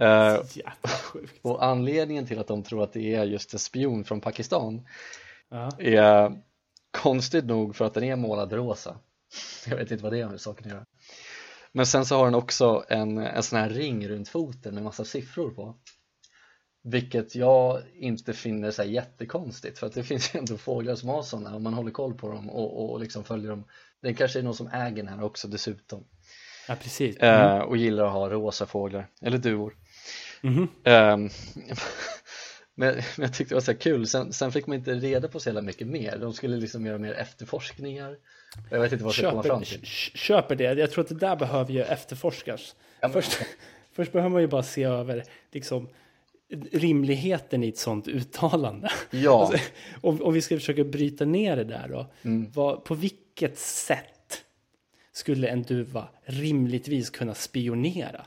Eh, Jävla sjukt. Och anledningen till att de tror att det är just en spion från Pakistan Ja. är konstigt nog för att den är målad rosa. Jag vet inte vad det har med saken att göra. Men sen så har den också en, en sån här ring runt foten med massa siffror på. Vilket jag inte finner så här jättekonstigt för att det finns ju ändå fåglar som har sådana om man håller koll på dem och, och, och liksom följer dem. Det kanske är någon som äger den här också dessutom ja, precis. eh, och gillar att ha rosa fåglar eller duvor. Mhm. Ehm, men, men jag tyckte det var så här kul, sen, sen fick man inte reda på så jävla mycket mer. De skulle liksom göra mer efterforskningar. Jag vet inte vad jag ska komma Köper, fram k- till. köper det. Jag tror att det där behöver ju efterforskas. först, först behöver man ju bara se över liksom, rimligheten i ett sånt uttalande. Ja. Alltså, om, om vi ska försöka bryta ner det där då. Mm. Vad, på vilket sätt skulle en duva rimligtvis kunna spionera?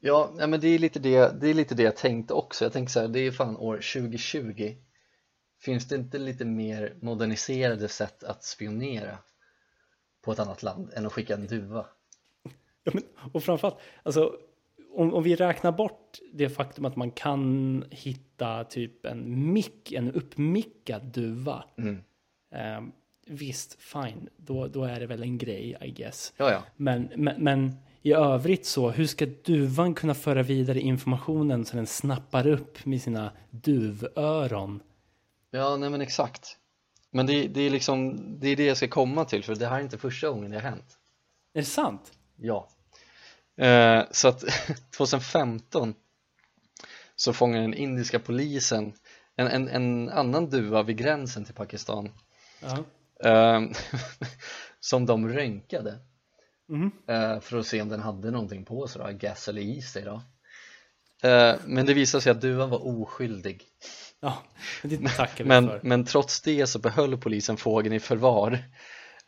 Ja, nej, men det är, lite det, det är lite det jag tänkte också. Jag tänkte så här, det är fan år 2020. Finns det inte lite mer moderniserade sätt att spionera på ett annat land än att skicka en duva? Ja, men, och framförallt, alltså, om, om vi räknar bort det faktum att man kan hitta typ en mick, en uppmickad duva. Mm. Eh, visst, fine, då, då är det väl en grej, I guess. Ja, ja. Men, men, men i övrigt så, hur ska duvan kunna föra vidare informationen så den snappar upp med sina duvöron? Ja, nej men exakt. Men det, det är liksom, det är det jag ska komma till för det här är inte första gången det har hänt. Är det sant? Ja. Eh, så att 2015 så fångar den indiska polisen en, en, en annan duva vid gränsen till Pakistan Ja. eh, som de röntgade Mhm. eh, för att se om den hade någonting på sig, då, I guess eller i sig. Då. Eh, men det visade sig att duvan var oskyldig. Ja, det tackar vi Men, för. men trots det så behöll polisen fågeln i förvar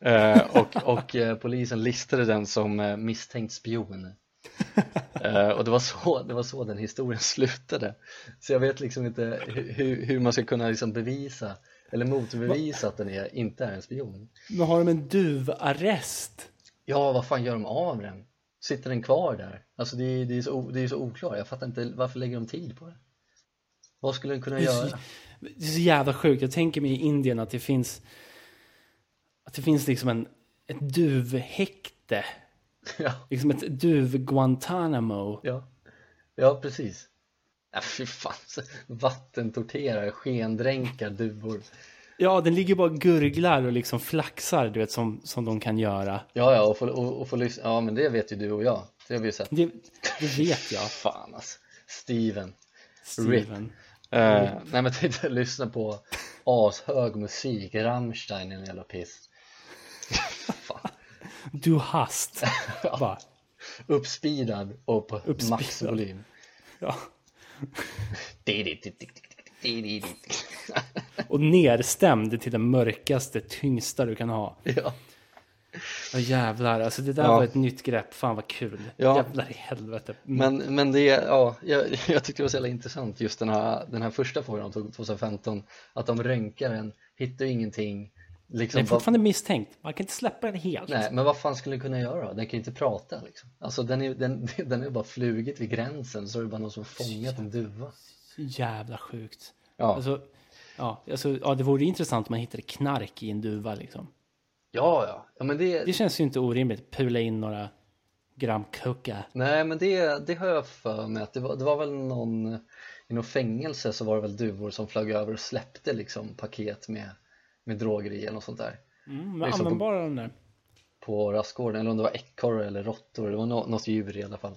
eh, och, och eh, polisen listade den som eh, misstänkt spion. Eh, och det var, så, det var så den historien slutade. Så jag vet liksom inte hu- hur, hur man ska kunna liksom bevisa eller motbevisa att den är, inte är en spion. Men har de en duvarrest? Ja, vad fan gör de av den? Sitter den kvar där? Alltså det är, det är, så, o- det är så oklart, jag fattar inte varför lägger de tid på det? Vad skulle den kunna Det är så- göra? Det är så jävla sjukt. Jag tänker mig i Indien att det finns att det finns liksom en, ett duvhäkte. Ja. Liksom ett duv-Guantanamo. Ja, ja precis. Ja, fy fan. Vattentorterare, skendränkar, duvor. Ja, den ligger bara och gurglar och liksom flaxar, du vet, som, som de kan göra. Ja, ja, och få, och, och få lyssna. Ja, men det vet ju du och jag. Det har vi ju sett. Det, det vet jag, Fan alltså. Steven. Steven. Eh, nej, men titta, lyssna på ashög musik, Rammstein eller jävla piss. fan. Du hast. Bara, Uppspeedad och på Uppspeedad. maxvolym. ja. Ja. Och nerstämd till den mörkaste, tyngsta du kan ha. Ja jävlar, alltså det där Ja. var ett nytt grepp. Fan vad kul. Ja. Jävlar i helvete. Men, men det, ja, jag, jag tyckte det var så jävla intressant just den här, den här första frågan de tog 2015 Att de röntgar den, hittar ju ingenting Den liksom, är fortfarande misstänkt. Man kan inte släppa den helt. vad, Nej, men vad fan skulle den kunna göra då? Den kan ju inte prata liksom Alltså den är den, den är bara flugit vid gränsen så är det bara någon som fångat en duva Så Jävla sjukt. Ja, Alltså, ja, alltså, ja, det vore intressant om man hittade knark i en duva liksom. ja, ja, ja men det, Det känns ju inte orimligt. Pula in några gram kucka. nej men det, det har jag för mig att det var, det var väl någon I något fängelse så var det väl duvor som flög över och släppte liksom paket med, med droger i eller något sånt där Mm, är men så på- användbara de där. på rastgården eller om det var ekorre eller råttor, det var nå- något djur i alla fall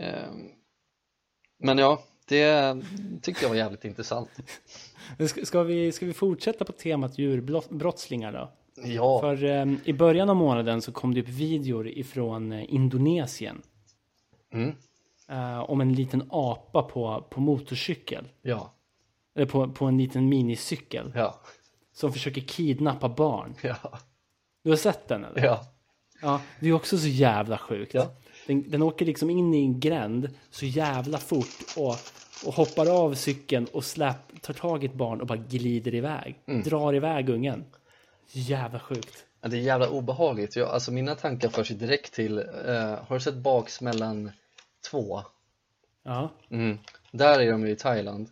Ehm, Men ja, det tyckte jag var jävligt intressant Men Ska, ska, vi, ska vi fortsätta på temat djurbrottslingar då? Ja, För ehm, i början av månaden så kom det upp videor ifrån eh, Indonesien. mm, eh, om en liten apa på, på motorcykel. ja, Eller på, på en liten minicykel. ja, Som försöker kidnappa barn. ja, Du har sett den eller? ja, Ja, det är också så jävla sjukt. Ja. Den, den åker liksom in i en gränd så jävla fort och, och hoppar av cykeln och släpp, tar tag i ett barn och bara glider iväg. Drar iväg ungen. Jävla sjukt. Ja, det är jävla obehagligt, jag, alltså mina tankar förs ju direkt till, eh, har du sett Baksmällan 2? Ja, Mm. Där är de ju i Thailand.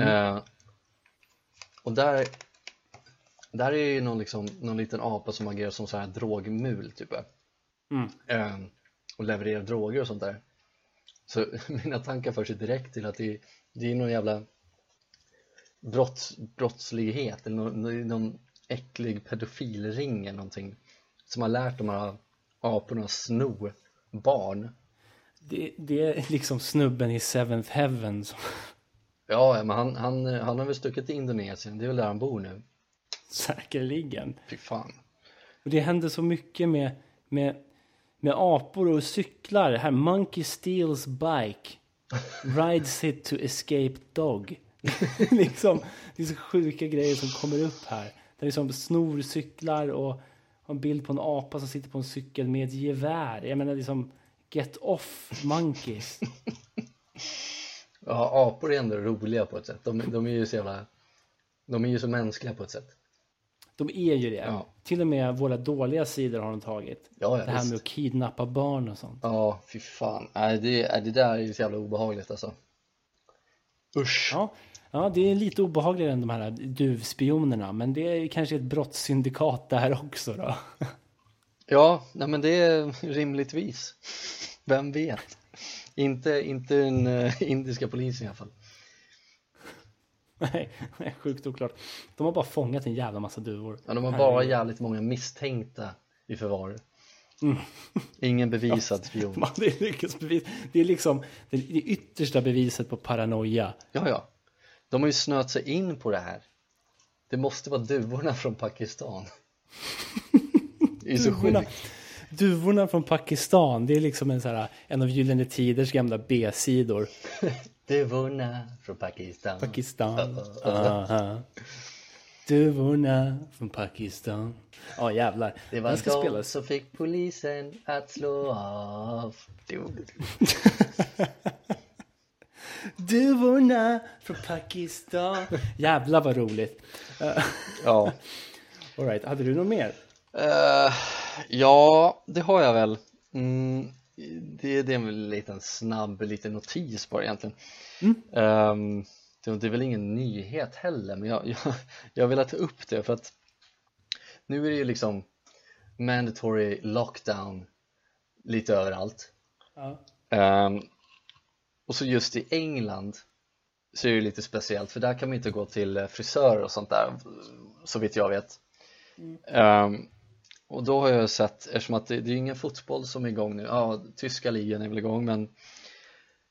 Eh, och där, där är ju någon, liksom, någon liten apa som agerar som så här drogmul typ. Mm. Eh, och levererar droger och sånt där. Så mina tankar förs ju direkt till att det, det är någon jävla brotts, brottslighet eller någon, någon äcklig pedofilring eller någonting som har lärt de här aporna att sno barn. det, det är liksom snubben i Seventh Heaven. Som, Ja, ja, men han, han, han har väl stuckit till Indonesien, det är väl där han bor nu. säkerligen. Fy fan. Och det händer så mycket med, med, med apor och cyklar. Här, monkey steals bike. Rides it to escape dog. liksom, det är så sjuka grejer som kommer upp här. Det är liksom snor cyklar och har en bild på en apa som sitter på en cykel med ett gevär. Jag menar liksom get off monkeys. Ja, apor är ändå roliga på ett sätt. De, de är ju så jävla... De är ju så mänskliga på ett sätt. De är ju det. Ja. Till och med våra dåliga sidor har de tagit. Ja, ja, det här visst. med att kidnappa barn och sånt. Ja, fy fan. Nej, det, nej, det där är ju så jävla obehagligt alltså. Usch. Ja, ja det är lite obehagligare än de här duvspionerna. Men det är ju kanske ett brottssyndikat det här också då. Ja, nej men det är rimligtvis. Vem vet? Inte, inte den eh, indiska polisen i alla fall. Nej, nej, sjukt oklart. De har bara fångat en jävla massa duvor. Ja, de har bara jävligt många misstänkta i förvar. Mm. Ingen bevisad spion. Man, det är lyckesbevis. Det är liksom det, det yttersta beviset på paranoia. Ja, ja. De har ju snöat sig in på det här. Det måste vara duvorna från Pakistan. Det är så Duvorna, sjukt. duvorna från Pakistan, det är liksom en, så här, en av Gyllene Tiders gamla B-sidor. Duvorna från Pakistan. Pakistan. Aha. Duvorna från Pakistan. Ja, jävlar. Det var Den ska de spelas. som fick polisen att slå av. Jo. Duvorna från Pakistan. Jävlar vad roligt. Ja. All right, hade du något mer? Eh, ja, det har jag väl. Mm, det, det är en liten snabb liten notis bara egentligen. Ehm, det, det är väl ingen nyhet heller, men jag, jag, jag vill ta upp det för att nu är det ju liksom mandatory lockdown lite överallt. Ja. Ehm, och så just i England så är det lite speciellt för där kan man inte gå till eh, frisörer och sånt där så vitt jag vet. Ehm, och då har jag sett, eftersom att det, det är ingen fotboll som är igång nu, ja tyska ligan är väl igång men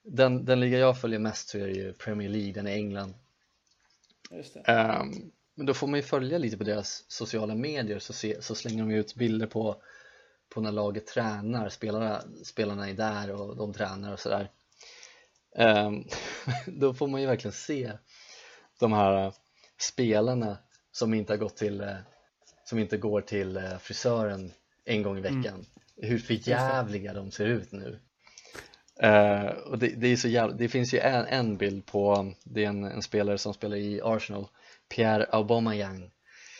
den, den liga jag följer mest så är det ju Premier League, den i England. Just det. Ehm, men då får man ju följa lite på deras sociala medier så, se, så slänger de ju ut bilder på, på när laget tränar, spelarna, spelarna är där och de tränar och sådär. Ehm, då får man ju verkligen se de här eh, spelarna som inte har gått till eh, som inte går till eh, frisören en gång i veckan hur förjävliga de ser ut nu Eh, och det, det, är så jävla, det finns ju en, en bild på det är en, en spelare som spelar i Arsenal Pierre Aubameyang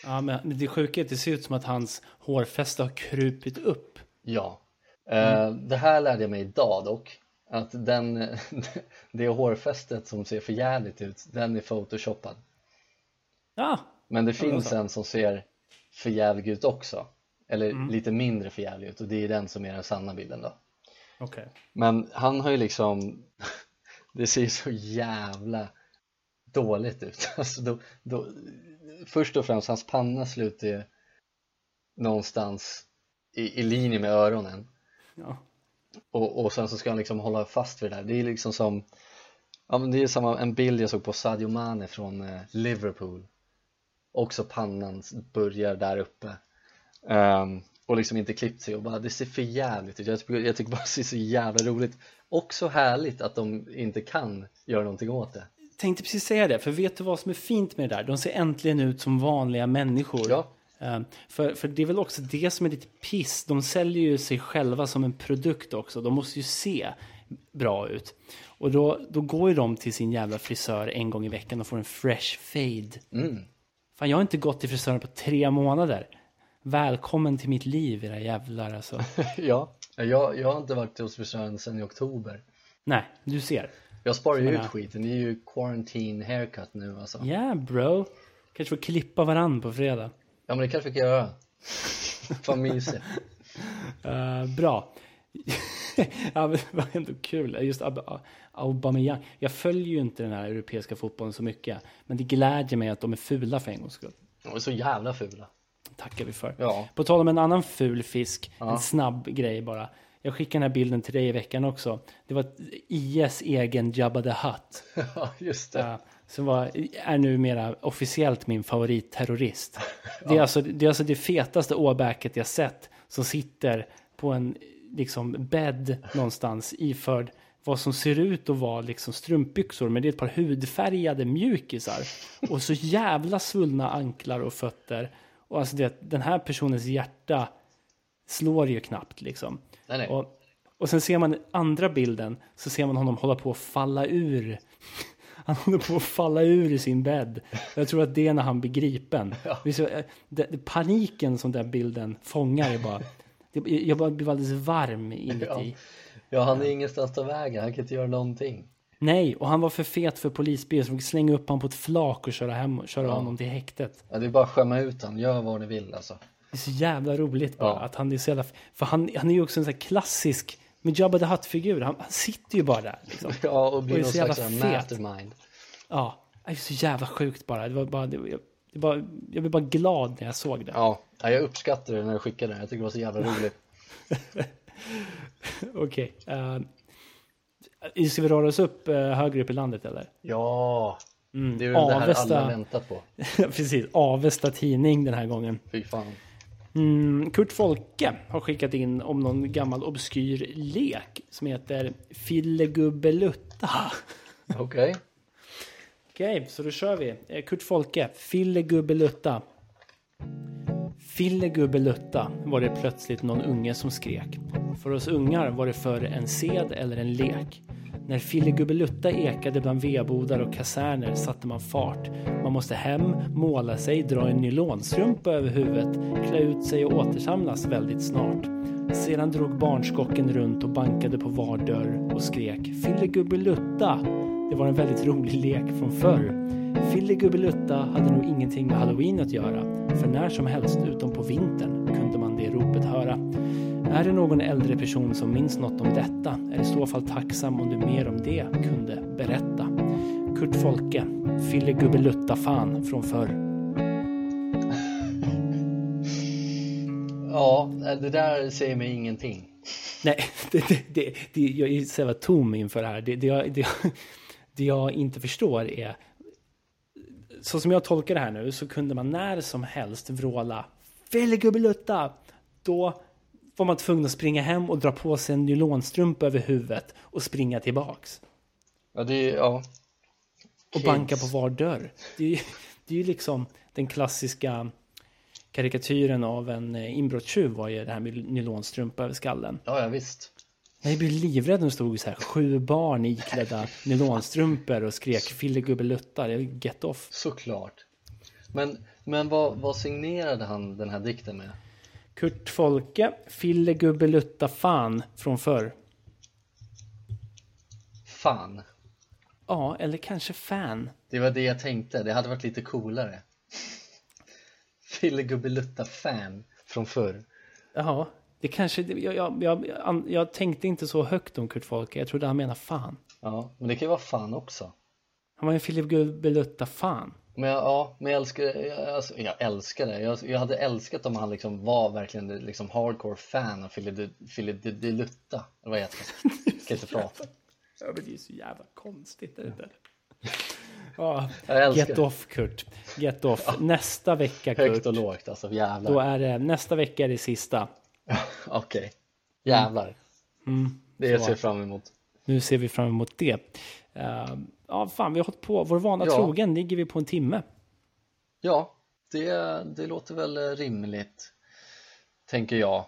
Ja, men men det sjuka är att det ser ut som att hans hårfäste har krupit upp. ja Eh, det här lärde jag mig idag dock att den, det hårfästet som ser förjävligt ut den är photoshoppad Ja, Men det finns så. en som ser för jävlig ut också Eller lite mindre för jävlig ut och det är den som är den sanna bilden då okej. Men han har ju liksom Det ser ju så jävla dåligt ut alltså då, då, Först och främst, hans panna slutar ju någonstans i, i linje med öronen Ja. och, och sen så ska han liksom hålla fast vid det där Det är liksom som ja, men Det är samma, en bild jag såg på Sadio Mane från eh, Liverpool Också pannan börjar där uppe Ehm, Och liksom inte klippt sig och bara det ser för jävligt ut jag, tycker- jag tycker bara det ser så jävla roligt Också härligt att de inte kan göra någonting åt det Tänkte precis säga det, för vet du vad som är fint med det där? De ser äntligen ut som vanliga människor. Ja. Eh, För, för det är väl också det som är lite piss. De säljer ju sig själva som en produkt också. De måste ju se bra ut. Och då, då går ju de till sin jävla frisör en gång i veckan och får en fresh fade. Fan, jag har inte gått till frisören på tre månader. Välkommen till mitt liv era jävlar alltså. Ja, Eh, jag, jag har inte varit hos frisören sedan i oktober Nej, du ser. Jag sparar ju ut menar- skiten, det är ju quarantine haircut nu alltså Yeah bro. Kanske får klippa varann på fredag. Ja men det kanske vi kan göra Fan mysigt Eh, bra. ja, men det var ändå kul. Just Ab- Aubameyang. Jag följer ju inte den här europeiska fotbollen så mycket. Men det glädjer mig att de är fula för en gångs skull. De är så jävla fula tackar vi för. Ja. På tal om en annan ful fisk, en snabb grej bara. Jag skickade den här bilden till dig i veckan också. Det var IS egen Jabba the Hutt. Ja, just det. Ja, som var, är numera officiellt min favoritterrorist. Det är, alltså, det är alltså det fetaste åbäket jag sett som sitter på en liksom, bädd någonstans iförd vad som ser ut att vara liksom strumpbyxor men det är ett par hudfärgade mjukisar och så jävla svullna anklar och fötter och alltså det, den här personens hjärta slår ju knappt liksom. Nej, nej. Och, och sen ser man andra bilden så ser man honom hålla på att falla ur Han håller på att falla ur i sin bädd. Jag tror att det är när han blir gripen. Det är så, eh, det, det, paniken som den bilden fångar är bara... Det, jag bara blir alldeles varm inuti. Ja, han är ingenstans att ta vägen, han kan inte göra någonting. Nej, och han var för fet för polisbil så de fick slänga upp honom på ett flak och köra, hem, köra honom till häktet. Ja, det är bara att skämma ut han, gör vad ni vill alltså. Det är så jävla roligt bara Ja. att han är så jävla... För han, han är ju också en sån här klassisk med Jabba the Hutt-figur. Han, han sitter ju bara där. Liksom. Ja, och blir Och är någon så jävla slags så här fet. mastermind. Ja, det är så jävla sjukt bara. Det var bara, det, jag, det bara jag blev bara glad när jag såg det. Ja, ja, jag uppskattar det när du skickade det, jag tycker det var så jävla roligt. Okej. eh, ska vi röra oss upp eh, högre upp i landet eller? Ja, det är ju det här Mm. Avesta. alla väntar på. Precis, Avesta Tidning den här gången. Fy fan. Mm, Kurt Folke har skickat in om någon gammal obskyr lek som heter Fillegubbelutta. Okej, Okej, så då kör vi. Eh, Kurt Folke, Fillegubbelutta. Fillegubbelutta var det plötsligt någon unge som skrek. För oss ungar var det förr en sed eller en lek. När Fillegubbelutta ekade bland vedbodar och kaserner satte man fart. Man måste hem, måla sig, dra en nylonstrumpa över huvudet, klä ut sig och återsamlas väldigt snart. Sedan drog barnskocken runt och bankade på var dörr och skrek Fillegubbelutta. Det var en väldigt rolig lek från förr. Fillegubbelutta hade nog ingenting med halloween att göra, för när som helst utom på vintern kunde man det ropet höra. Är det någon äldre person som minns något om detta är i så fall tacksam om du mer om det kunde berätta. Kurt Folke, Fillegubbelutta-fan från förr. ja, det där säger mig ingenting. Nej, det, det, det, det, jag är så jävla tom inför det här. Det, det, jag, det, jag- det jag inte förstår är... Så som jag tolkar det här nu så kunde man när som helst vråla Fillegubbelutta! Då var man tvungen att springa hem och dra på sig en nylonstrumpa över huvudet och springa tillbaks. Ja, det är, ja. Och Kids. banka på var dörr. Det är, ju, det är ju liksom den klassiska karikatyren av en eh, inbrottstjuv var ju det här med nylonstrumpa över skallen. Ja, ja visst. Nej, Jag blev livrädd när det stod så här, sju barn iklädda nylonstrumpor och skrek fillegubbelutta. Det är Get off. Såklart. Men, men vad, vad signerade han den här dikten med? Kurt Folke, fillegubbelutta fan från förr. Fan. Ja, eller kanske fan. Det var det jag tänkte, det hade varit lite coolare Fillegubbelutta fan från förr Ja, det kanske... Jag, jag, jag, jag, jag tänkte inte så högt om Kurt Folke. Jag trodde han menade fan. Ja, men det kan ju vara fan också Han var ju en fillegubbelutta fan. Men jag, ja, men jag älskar, jag, alltså, jag älskar det jag, jag hade älskat om han liksom var verkligen liksom hardcore fan av Fillegubbelutta Det var jättebra Jag kan inte prata Ja, men det är så jävla konstigt. Är det där? Ja, Jag älskar get det. off Kurt. Get off. Nästa vecka Högt Kurt. och lågt alltså, jävlar Då är det, nästa vecka är det sista. Okej, jävlar Det jag ser fram emot Nu ser vi fram emot det. Eh, ja, fan, vi har hållit på. Vår vana Ja. trogen ligger vi på en timme. Ja, det, det låter väl rimligt Tänker jag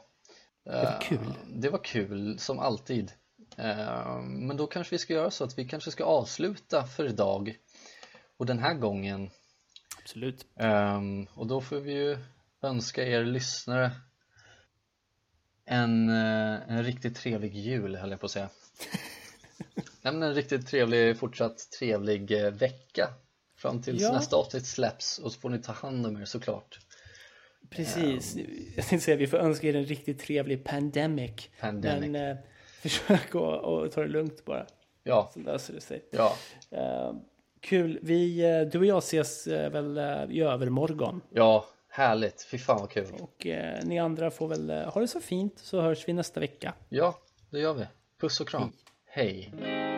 Eh, Det var kul. Det var kul som alltid. Eh, Men då kanske vi ska göra så att vi kanske ska avsluta för idag och den här gången. Absolut. Ehm, Och då får vi ju önska er lyssnare en, eh, en riktigt trevlig jul höll jag på att säga. Nej men en riktigt trevlig, fortsatt trevlig eh, vecka fram tills Ja. nästa avsnitt släpps och så får ni ta hand om er såklart. Precis. Ehm, Jag tänkte säga, vi får önska er en riktigt trevlig pandemic. Pandemic. Men eh, försök att, att ta det lugnt bara, Ja, så löser det sig. ja, Eh, kul. Vi, eh, du och jag ses eh, väl eh, i övermorgon. ja, härligt. Fy fan vad kul. Och eh, ni andra får väl eh, ha det så fint så hörs vi nästa vecka. Mm. Ja, det gör vi. Puss och kram. Hej.